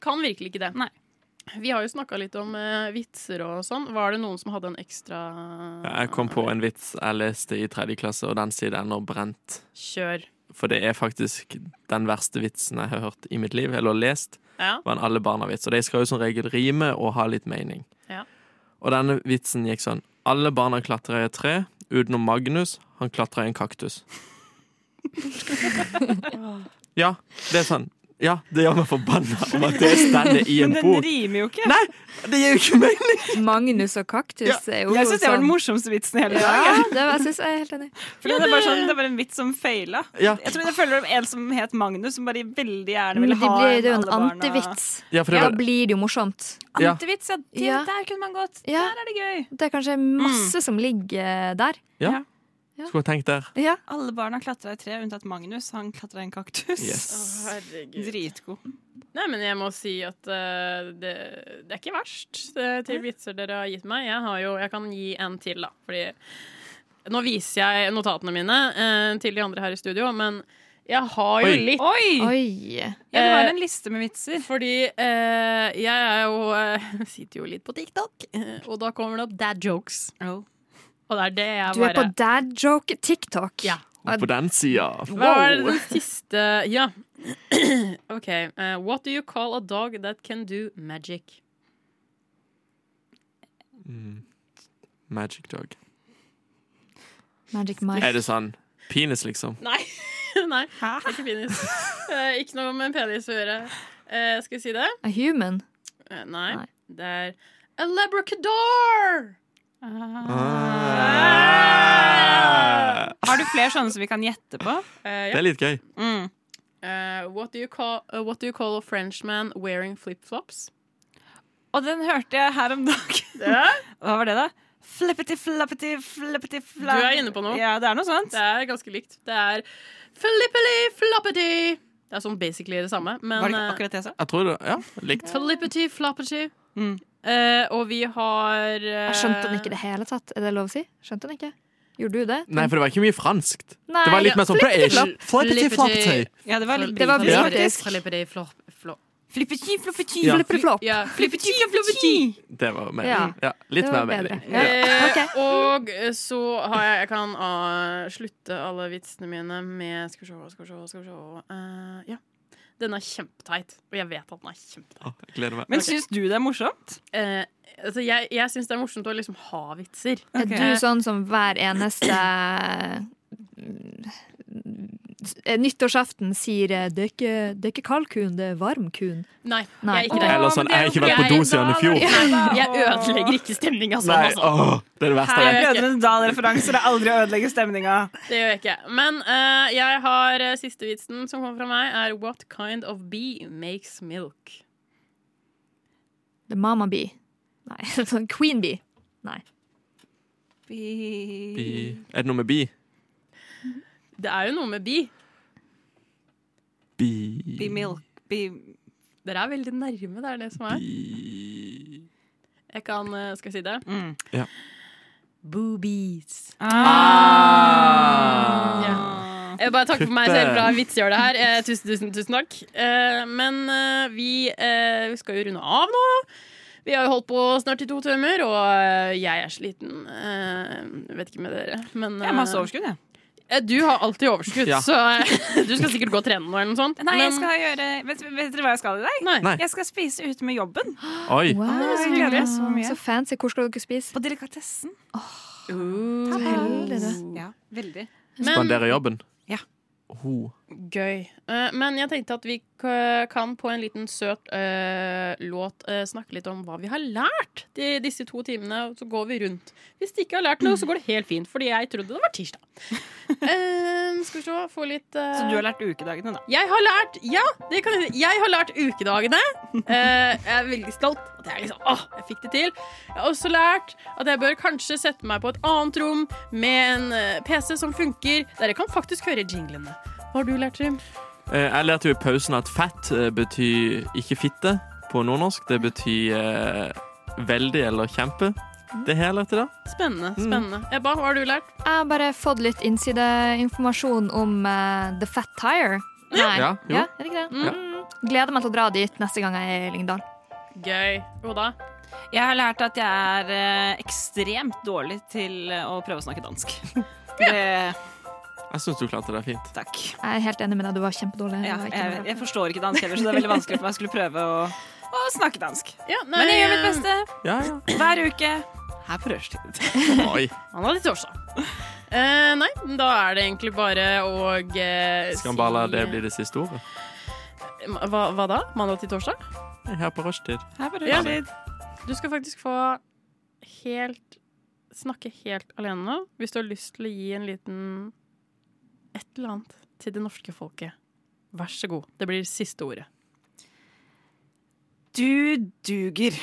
Speaker 3: Kan virkelig ikke det. Vi har jo snakka litt om eh, vitser og sånn. Var det noen som hadde en ekstra
Speaker 1: Jeg kom på en vits jeg leste i tredje klasse, og den sier den og brent.
Speaker 3: kjør?
Speaker 1: For det er faktisk den verste vitsen jeg har hørt i mitt liv, eller lest.
Speaker 3: Ja.
Speaker 1: Var en alle barna-vits. Og de skal jo som regel rime og ha litt mening. Og denne vitsen gikk sånn. Alle barna klatra i et tre, utenom Magnus. Han klatra i en kaktus. Ja, det er sånn. Ja, det gjør meg forbanna om at det stedet i en bok.
Speaker 5: rimer jo ikke.
Speaker 1: Nei, det gir jo ikke mening.
Speaker 4: Magnus og kaktus er jo
Speaker 5: jeg syns det var
Speaker 4: sånn-
Speaker 5: den morsomste vitsen i hele dag.
Speaker 4: Ja,
Speaker 5: jeg.
Speaker 4: det, jeg synes jeg er helt enig.
Speaker 5: For det, er bare sånn, det er bare en vits som feila.
Speaker 1: Ja.
Speaker 5: Jeg tror jeg føler det var en som het Magnus, som bare veldig gjerne
Speaker 4: Men
Speaker 5: ville
Speaker 4: det
Speaker 5: ha
Speaker 4: blir det er jo en
Speaker 5: alle barna.
Speaker 4: antivits.
Speaker 1: Ja, for det
Speaker 4: Da
Speaker 1: var-
Speaker 4: blir det jo morsomt.
Speaker 1: Ja.
Speaker 5: Antivits, ja. Det,
Speaker 4: Ja.
Speaker 5: Der kunne man gått.
Speaker 4: Ja.
Speaker 5: Der er det gøy.
Speaker 4: Det er kanskje masse som ligger eh, der.
Speaker 1: Ja. Skulle ha tenkt der.
Speaker 4: Ja.
Speaker 5: Alle barna klatra i tre, unntatt Magnus. Han klatra i en kaktus.
Speaker 1: Yes.
Speaker 3: Å, herregud.
Speaker 5: Dritgod.
Speaker 3: Nei, men jeg må si at eh, det, det er ikke verst eh, til vitser dere har gitt meg. Jeg, har jo, jeg kan gi en til, da. Fordi nå viser jeg notatene mine eh, til de andre her i studio, men jeg har jo
Speaker 5: Oi.
Speaker 3: litt
Speaker 5: Oi! Ja, det var en liste med vitser.
Speaker 3: Fordi eh, jeg er jo eh, sitter jo litt på TikTok, eh, og da kommer det opp dad jokes. Og det er det jeg
Speaker 4: Oh. Du er
Speaker 3: bare
Speaker 4: på dad joke TikTok. Ja.
Speaker 1: På den sida.
Speaker 3: Hva er den siste Ja. OK. eh, what do you call a dog that can do magic?
Speaker 1: Mm. Magic dog.
Speaker 4: Magic Mike.
Speaker 1: Er det sånn penis, liksom?
Speaker 3: Nei. Nei. det er Ikke penis. Eh, ikke noe med penis å gjøre. Eh, skal vi si det?
Speaker 4: A human.
Speaker 3: Eh, nei. Det er a labracador!
Speaker 5: Har du flere sånne som vi kan gjette på?
Speaker 3: Eh, ja.
Speaker 1: Det er litt gøy.
Speaker 5: Mm.
Speaker 3: Eh, what, do you call, eh, what do you call a Frenchman wearing flipflops?
Speaker 5: Og den hørte jeg her om dagen. Hva var det, da? Flippity, flappity, flippity,
Speaker 3: Du
Speaker 5: flap...
Speaker 3: er inne på noe.
Speaker 5: Ja, det er noe sånt.
Speaker 3: Det er ganske likt. Det er flippity floppity. Det er sånn basically det samme, men
Speaker 5: Var
Speaker 3: eh,
Speaker 5: det ikke akkurat det jeg sa?
Speaker 1: Jeg tror det Ja, likt.
Speaker 3: Flippity floppity. Eh, og vi har eh,
Speaker 4: Jeg skjønte den ikke i det hele tatt. Er det lov å si? Skjønte den ikke? Gjorde du det?
Speaker 1: Nei, for det var ikke mye franskt.
Speaker 4: Nei,
Speaker 1: det var litt
Speaker 4: ja.
Speaker 1: mer sånn
Speaker 4: Flippity
Speaker 1: British. Flippity floppity.
Speaker 5: Ja, det var litt
Speaker 4: Det var
Speaker 1: Ja.
Speaker 4: britisk.
Speaker 3: Flippity flop, flop.
Speaker 5: Flippity, flippity,
Speaker 1: Ja.
Speaker 4: Flippity-flopp.
Speaker 3: Ja.
Speaker 5: flippity, flippity.
Speaker 1: Det var mer Mm,
Speaker 4: Ja.
Speaker 1: ja, Litt
Speaker 4: Det
Speaker 1: mer
Speaker 4: var bedre.
Speaker 1: mening.
Speaker 4: Ja.
Speaker 1: Ja.
Speaker 3: Eh,
Speaker 4: Ok.
Speaker 3: Og så har jeg Jeg kan ah, slutte alle vitsene mine med Skal vi se, skal vi se, skal vi se. Eh, ja. Den er kjempeteit, og jeg vet at den er kjempeteit.
Speaker 1: Å, jeg gleder meg.
Speaker 5: Men syns du det er morsomt?
Speaker 3: Eh, altså jeg jeg syns det er morsomt å liksom ha vitser.
Speaker 4: Er
Speaker 5: Ok.
Speaker 4: du sånn som hver eneste eh, Nyttårsaften sier eh, det er, ikke, 'Det er ikke kalkun, det er varmkun'.
Speaker 3: Nei,
Speaker 4: Nei.
Speaker 3: jeg er ikke det.
Speaker 1: Eller sånn, jeg har ikke vært på do siden i fjor.
Speaker 3: Jeg ødelegger ikke stemninga sånn,
Speaker 1: Nei,
Speaker 3: altså.
Speaker 1: åh, det er det verste jeg vet.
Speaker 3: Her-
Speaker 5: Brødrene Dal-referanser er aldri å ødelegge stemninga.
Speaker 3: Det gjør jeg ikke. Men eh, jeg har eh, siste vitsen som kommer fra meg, er What kind of bee makes milk?
Speaker 4: The Mama Bee. Nei, sånn Queen Bee. Nei.
Speaker 1: Bi. Er det noe med bi?
Speaker 3: Det er jo noe med bi.
Speaker 1: Bi
Speaker 5: Be milk. Be
Speaker 3: Dere er veldig nærme, det er det som er. Jeg kan eh, Skal jeg si det?
Speaker 5: mm.
Speaker 1: Ja.
Speaker 3: Boobies.
Speaker 5: ah.
Speaker 3: Ja. Jeg vil bare takke for meg
Speaker 1: Putte.
Speaker 3: selv fra vitsehjølet her. Eh, tusen, tusen, tusen takk. Eh, men eh, vi, eh, vi skal jo runde av nå. Vi har jo holdt på snart i to timer, og eh, jeg er sliten. Eh, vet ikke med dere, men
Speaker 5: Jeg har masse
Speaker 3: eh,
Speaker 5: overskudd, jeg.
Speaker 3: eh, Du har alltid overskudd,
Speaker 1: Ja.
Speaker 3: så eh, du skal sikkert gå og trene nå eller noe sånt.
Speaker 5: Eh, Nei, jeg
Speaker 3: men-
Speaker 5: skal gjøre vet, vet dere hva jeg skal i dag?
Speaker 3: Nei.
Speaker 1: Nei.
Speaker 5: Jeg skal spise ute med jobben.
Speaker 1: Oi.
Speaker 5: Åh, jeg Ah, gleder meg så mye.
Speaker 4: Så fancy. Hvor skal dere spise?
Speaker 5: På delikatessen.
Speaker 4: Så heldig, du.
Speaker 5: Ja, veldig.
Speaker 3: Uh. Men
Speaker 1: Spandere jobben.
Speaker 5: Ja.
Speaker 1: Ho.
Speaker 3: Gøy. Eh, men jeg tenkte at vi k- kan på en liten søt eh, låt eh, snakke litt om hva vi har lært de, disse to timene, og så går vi rundt. Hvis de ikke har lært noe, så går det helt fint, fordi jeg trodde det var tirsdag. Eh, skal vi se, få litt eh,
Speaker 5: Så du har lært ukedagene, da.
Speaker 3: Jeg har lært Ja, det kan jeg si. Jeg har lært ukedagene. Eh, jeg er veldig stolt. At jeg liksom Åh, jeg fikk det til. Jeg har også lært at jeg bør kanskje sette meg på et annet rom med en eh, PC som funker. Dere kan faktisk høre jinglene. Hva har du lært, Trym?
Speaker 1: Eh, Jeg lærte jo i pausen at fett eh, betyr ikke fitte på nordnorsk. Det betyr eh, veldig eller kjempe. Det har jeg lært i dag.
Speaker 3: Spennende. spennende Ebba, hva har du lært?
Speaker 4: Jeg har bare fått litt innsideinformasjon om eh, The Fat Tire. Nei.
Speaker 1: Ja, jo.
Speaker 4: er det ikke det?
Speaker 1: Ja.
Speaker 4: Mm. Gleder meg til å dra dit neste gang jeg er i Lyngdal.
Speaker 3: Gøy. Oda?
Speaker 5: Jeg har lært at jeg er eh, ekstremt dårlig til eh, å prøve å snakke dansk. Det,
Speaker 1: Jeg syns du klarte det fint.
Speaker 5: Takk.
Speaker 4: Jeg er helt enig med deg, du var kjempedårlig.
Speaker 5: ja,
Speaker 4: Det var ikke
Speaker 5: jeg,
Speaker 4: bra.
Speaker 5: jeg forstår ikke dansk heller, så det er veldig vanskelig for meg å skulle prøve å, å snakke dansk.
Speaker 3: nei,
Speaker 5: Men jeg gjør mitt
Speaker 3: eh,
Speaker 5: beste
Speaker 1: Ja,
Speaker 5: hver uke her på rushtid.
Speaker 1: Oi.
Speaker 3: Han hadde torsdag. Eh, nei, da er det egentlig bare å eh,
Speaker 1: Skal han bare la
Speaker 3: si-
Speaker 1: det bli det siste ordet?
Speaker 3: Hva, hva da? Mandag til torsdag?
Speaker 1: Her på rushtid.
Speaker 3: Her på
Speaker 1: Ja.
Speaker 3: rushtid. Du skal faktisk få helt snakke helt alene nå, hvis du har lyst til å gi en liten et eller annet til det norske folket. Vær så god. Det blir siste ordet.
Speaker 5: Du duger.